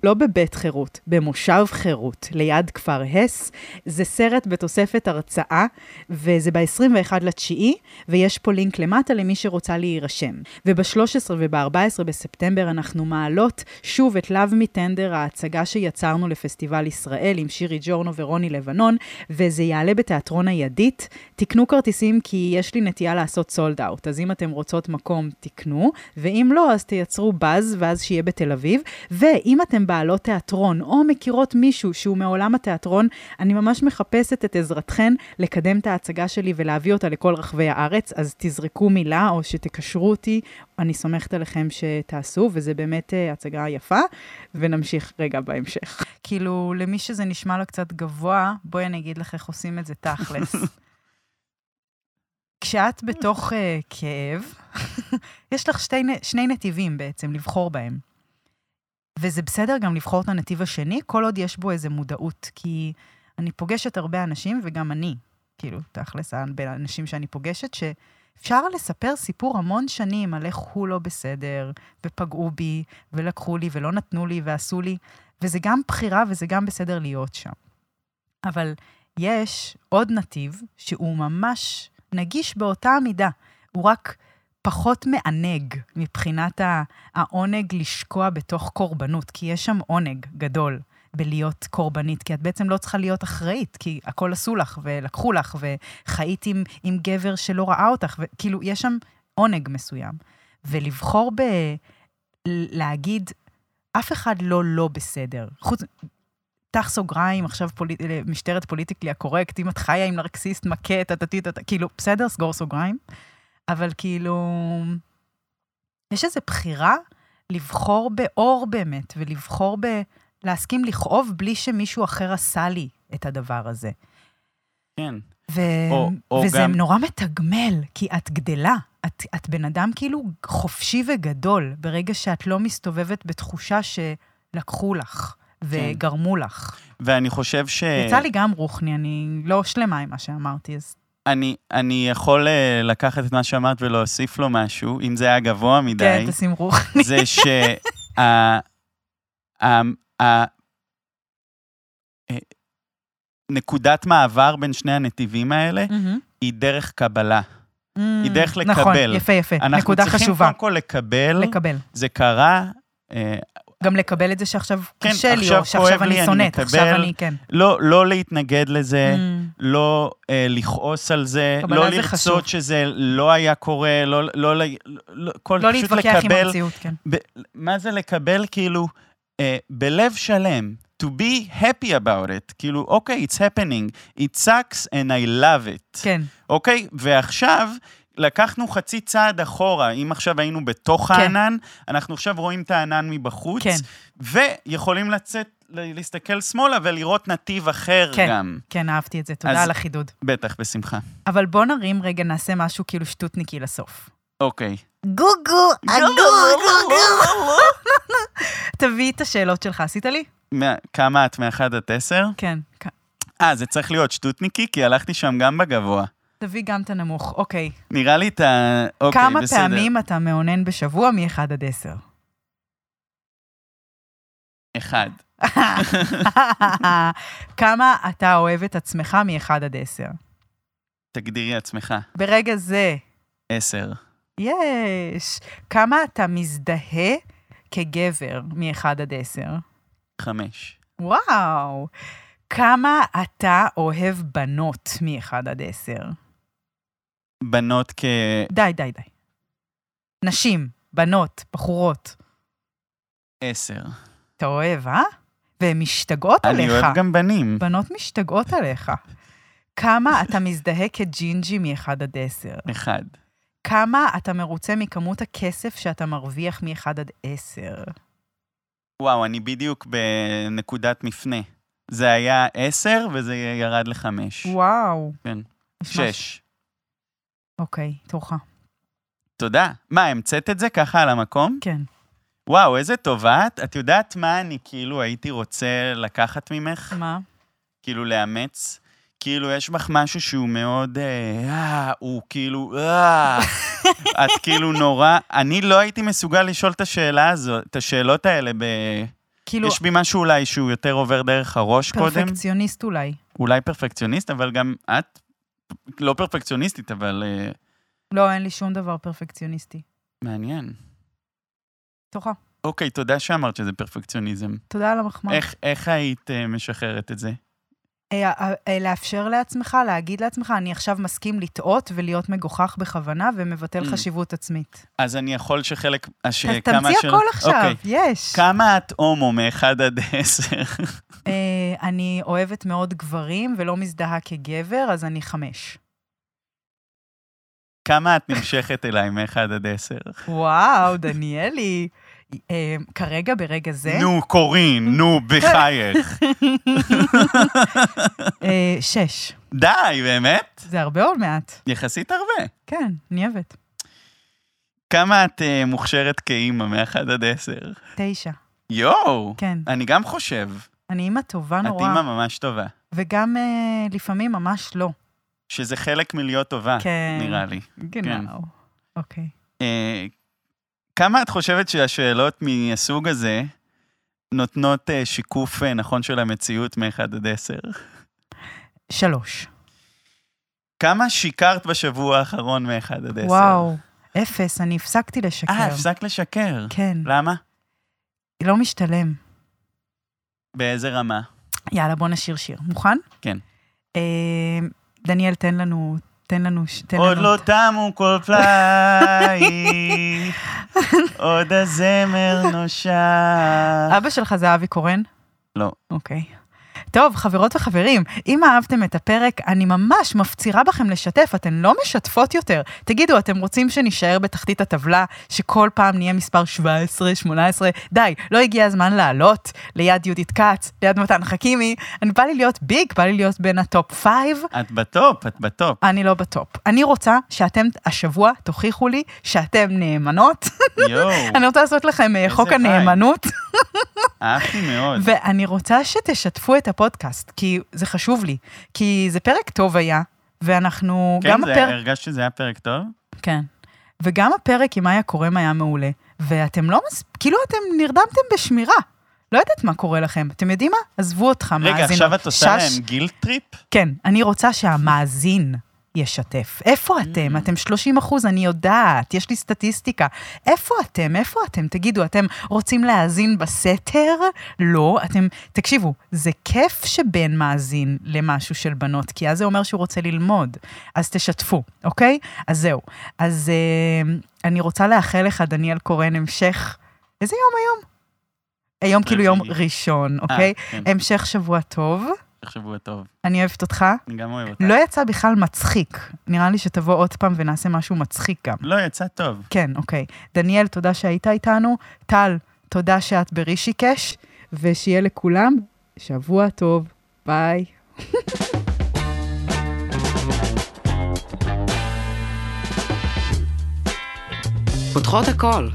A: לא בבית חירות, במושב חירות, ליד כפר הס. זה סרט בתוספת הרצאה, וזה ב-21 לתשיעי, ויש פה לינק למטה למי שרוצה להירשם. וב-13 וב-14 בספטמבר אנחנו מעלות שוב את Love Me Tender, ההצגה שיצרנו לפסטיבל ישראל עם שירי ג'ורנו ורוני לבנון, וזה יעלה בתיאטרון הידית. תקנו כרטיסים כי יש לי נטייה לעשות סולד אאוט, אז אם אתם רוצות מקום, תקנו, ואם לא, אז תייצרו באז, ואז שיהיה בתל אביב. ואם אתם בעלות תיאטרון, או מכירות מישהו שהוא מעולם התיאטרון, אני ממש מחפשת את עזרתכן לקדם את ההצגה שלי ולהביא אותה לכל רחבי הארץ, אז תזרקו מילה או שתקשרו אותי, אני סומכת עליכם שתעשו, וזה באמת אה, הצגה יפה, ונמשיך רגע בהמשך. כאילו, למי שזה נשמע לו קצת גבוה, בואי אני אגיד לך איך עושים את זה תכלס. כשאת בתוך אה, כאב, <laughs> יש לך שתי, נ- שני נתיבים בעצם לבחור בהם. וזה בסדר גם לבחור את הנתיב השני, כל עוד יש בו איזו מודעות, כי אני פוגשת הרבה אנשים, וגם אני, כאילו, תכלס, בין האנשים שאני פוגשת, שאפשר לספר סיפור המון שנים על איך הוא לא בסדר, ופגעו בי, ולקחו לי, ולא נתנו לי, ועשו לי, וזה גם בחירה וזה גם בסדר להיות שם. אבל יש עוד נתיב שהוא ממש נגיש באותה המידה, הוא רק פחות מענג מבחינת ה- העונג לשקוע בתוך קורבנות, כי יש שם עונג גדול בלהיות קורבנית, כי את בעצם לא צריכה להיות אחראית, כי הכל עשו לך ולקחו לך, וחיית עם, עם גבר שלא ראה אותך, וכאילו, יש שם עונג מסוים. ולבחור ב... להגיד, אף אחד לא לא בסדר. חוץ... פתח סוגריים, עכשיו פול... משטרת פוליטיקלי הקורקט, אם את חיה עם נרקסיסט מכה, טה-טה-טה-טה, כאילו, בסדר, סגור סוגריים. אבל כאילו, יש איזו בחירה לבחור באור באמת, ולבחור ב... להסכים לכאוב בלי שמישהו אחר עשה לי את הדבר הזה.
B: כן.
A: ו...
B: או- או
A: אמ, וזה
B: גם-
A: נורא מתגמל, כי את גדלה. את, את בן אדם כאילו חופשי וגדול, ברגע שאת לא מסתובבת בתחושה שלקחו לך
B: כן.
A: וגרמו לך.
B: ואני חושב ש...
A: יצא לי גם רוחני, אני לא שלמה עם מה שאמרתי, אז
B: אני, אני יכול אה, לקחת את מה שאמרת ולהוסיף לו משהו, אם זה היה גבוה מדי.
A: כן, תשים
B: <laughs>
A: רוחני.
B: זה אה, שה... ה- ה- אה, נקודת מעבר בין שני הנתיבים האלה
A: מהמם.
B: היא דרך קבלה. היא דרך
A: נכון,
B: לקבל.
A: יפה, יפה.
B: אנחנו
A: כן, נקודה
B: צריכים אה?
A: חשובה.
B: קודם כל לקבל,
A: לקבל.
B: זה קרה, אה,
A: גם לקבל את זה שעכשיו
B: כן,
A: קשה לי,
B: עכשיו
A: או שעכשיו
B: כואב לי,
A: אני
B: אני
A: שונאת, עכשיו
B: מקבל.
A: אני, כן.
B: לא, לא להתנגד לזה,
A: Mm.
B: לא אה, לכעוס על זה,
A: קבלה
B: לא
A: זה
B: לרצות
A: חשוב.
B: שזה לא היה קורה, לא, לא, לא, לא, כל,
A: לא
B: פשוט
A: להתווכח עם
B: לקבל,
A: המציאות, כן.
B: ב, מה זה לקבל כאילו אה, בלב שלם, to be happy about it, כאילו, אוקיי, okay, it's happening, it sucks and I love it,
A: כן,
B: אוקיי? ועכשיו... לקחנו חצי צעד אחורה, אם עכשיו היינו בתוך
A: כן.
B: כן. הענן, אנחנו עכשיו רואים את הענן מבחוץ,
A: כן.
B: ויכולים לצאת, ל- להסתכל שמאלה ולראות נתיב אחר
A: כן.
B: גם.
A: כן, אהבתי את זה. תודה
B: אז-
A: על החידוד.
B: בטח, בשמחה.
A: אבל בוא נרים רגע, נעשה משהו כאילו שטותניקי לסוף.
B: אוקיי.
A: גוגו, הגוגו, גוגו. תביא את השאלות שלך. עשית לי?
B: מה- כמה את? מ-1 עד 10?
A: כן. כ-
B: אה, זה צריך להיות שטוטניקי, כי הלכתי שם גם בגבוה.
A: תביא גם את הנמוך, אוקיי.
B: נראה לי את ה... אוקיי,
A: כמה
B: בסדר.
A: פעמים אתה מאונן בשבוע מ-1 עד 10?
B: אחד.
A: כמה אתה אוהב את עצמך מ-1 עד 10?
B: תגדירי עצמך.
A: ברגע זה,
B: עשר.
A: יש. כמה אתה מזדהה כגבר מ-1 עד 10?
B: חמש.
A: וואו. כמה אתה אוהב בנות מ-1 עד 10?
B: בנות כ...
A: די, די, די. נשים, בנות, בחורות.
B: עשר.
A: אתה אוהב, אה? והן משתגעות עליך.
B: אני אוהב גם בנים.
A: בנות משתגעות עליך. כמה אתה מזדהה כג'ינג'י מ-1 עד 10?
B: אחד.
A: כמה אתה מרוצה מכמות הכסף שאתה מרוויח מ-1 עד 10?
B: וואו, אני בדיוק בנקודת מפנה. זה היה עשר וזה ירד לחמש.
A: וואו.
B: כן.
A: נשמע ש-
B: שש.
A: אוקיי, תורך.
B: תודה. מה, המצאת את זה ככה על המקום?
A: כן.
B: וואו, איזה טובה את. את יודעת מה אני כאילו הייתי רוצה לקחת ממך?
A: מה?
B: כאילו לאמץ. כאילו, יש בך משהו שהוא מאוד... אה, אה, הוא
A: <laughs>
B: כאילו... אה, את כאילו נורא... אני לא הייתי מסוגל לשאול את השאלה הזו, את השאלות האלה ב...
A: כאילו,
B: יש בי משהו אולי שהוא יותר עובר דרך הראש קודם.
A: פרפקציוניסט אולי.
B: אולי פרפקציוניסט, אבל גם את לא פרפקציוניסטית, אבל אה,
A: לא, אין לי שום דבר פרפקציוניסטי.
B: מעניין.
A: תורך.
B: אוקיי, תודה שאמרת שזה פרפקציוניזם.
A: תודה על המחמאה.
B: איך, איך היית אה, משחררת את זה?
A: אה, אה, אה, לאפשר לעצמך, להגיד לעצמך, אני עכשיו מסכים לטעות ולהיות מגוחך בכוונה ומבטל
B: Mm.
A: חשיבות עצמית.
B: אז אני יכול שחלק... הש...
A: אז
B: כמה
A: תמציא
B: של-
A: הכל עכשיו,
B: אוקיי.
A: יש.
B: כמה את הומו מ-1 עד 10?
A: אה, אני אוהבת מאוד גברים ולא מזדהה כגבר, אז אני חמש.
B: כמה את נמשכת אליי מ-1 עד 10?
A: וואו, דניאלי. אה, כרגע, ברגע זה,
B: נו, קורין, נו,
A: <laughs>
B: בחייך.
A: אה, שש.
B: די, באמת?
A: זה הרבה עוד מעט.
B: יחסית הרבה.
A: כן, אני אוהבת.
B: כמה את אה, מוכשרת כאימא מ-1 עד 10?
A: תשע,
B: יואו!
A: כן.
B: אני גם חושב.
A: אני אימא טובה
B: את
A: נורא,
B: אימא ממש טובה.
A: וגם אה, לפעמים ממש לא.
B: שזה חלק מלהיות טובה,
A: כן.
B: אה, נראה לי. כן.
A: גנאו. אוקיי.
B: אה, כמה את חושבת שהשאלות מהסוג הזה נותנות אה, שיקוף אה, נכון של המציאות מ-1 עד 10?
A: שלוש.
B: כמה שיקרת בשבוע האחרון מ-1 עד 10?
A: וואו, אפס, אני הפסקתי
B: אה,
A: לשקר.
B: הפסקת לשקר.
A: כן,
B: למה?
A: לא משתלם.
B: באיזה רמה?
A: יאללה, בוא נשיר שיר. מוכן?
B: כן.
A: אה, דניאל, תן לנו, תן לנו, ש- תן לנו.
B: עוד לא תמו כל
A: <laughs>
B: פלייך, עוד הזמר נושע.
A: אבא שלך זה אבי קורן?
B: לא.
A: אוקיי. טוב, חברות וחברים, אם אהבתם את הפרק, אני ממש מפצירה בכם לשתף, אתן לא משתפות יותר. תגידו, אתם רוצים שנישאר בתחתית הטבלה, שכל פעם נהיה מספר 17, 18? די, לא הגיע הזמן לעלות ליד יהודית כץ, ליד מתן חכימי. אני בא לי להיות ביג, בא לי להיות בין הטופ פייב.
B: את בטופ, את בטופ.
A: אני לא בטופ. אני רוצה שאתם השבוע תוכיחו לי שאתם נאמנות. <laughs>
B: יואו,
A: אני רוצה לעשות לכם אה,
B: כן. איזה
A: חוק
B: וייב.
A: הנאמנות.
B: אהבתי מאוד.
A: ואני רוצה שתשתפו את הפודקאסט, כי זה חשוב לי. כי זה פרק טוב היה, ואנחנו...
B: כן,
A: גם
B: זה-
A: הפרק...
B: הרגשת שזה היה פרק טוב?
A: כן. וגם הפרק עם מאיה קורם היה מעולה. ואתם לא מס... כאילו אתם נרדמתם בשמירה. לא יודעת מה קורה לכם. אתם יודעים מה? עזבו אותך, מאזינות.
B: רגע, עכשיו את עושה
A: שש-
B: להם גיל טריפ?
A: כן, אני רוצה שהמאזין ישתף. איפה אתם? אתם 30 אחוז, אני יודעת, יש לי סטטיסטיקה. איפה אתם? איפה אתם? תגידו, אתם רוצים להאזין בסתר? לא, אתם... תקשיבו, זה כיף שבן מאזין למשהו של בנות, כי אז זה אומר שהוא רוצה ללמוד. אז תשתפו, אוקיי? אז זהו. אז אה, אני רוצה לאחל לך, דניאל קורן, המשך... איזה יום היום? היום כאילו יום
B: רביעי.
A: ראשון,
B: אה,
A: אוקיי?
B: כן,
A: המשך שבוע טוב,
B: תחשבו טוב.
A: אני אוהבת אותך.
B: אני גם אוהב אותך.
A: לא יצא בכלל מצחיק. נראה לי שתבוא עוד פעם ונעשה משהו מצחיק גם.
B: לא, יצא טוב.
A: כן, אוקיי. דניאל, תודה שהיית איתנו. טל, תודה שאת ברישיקש, ושיהיה לכולם שבוע טוב. ביי.
C: פותחות הכל.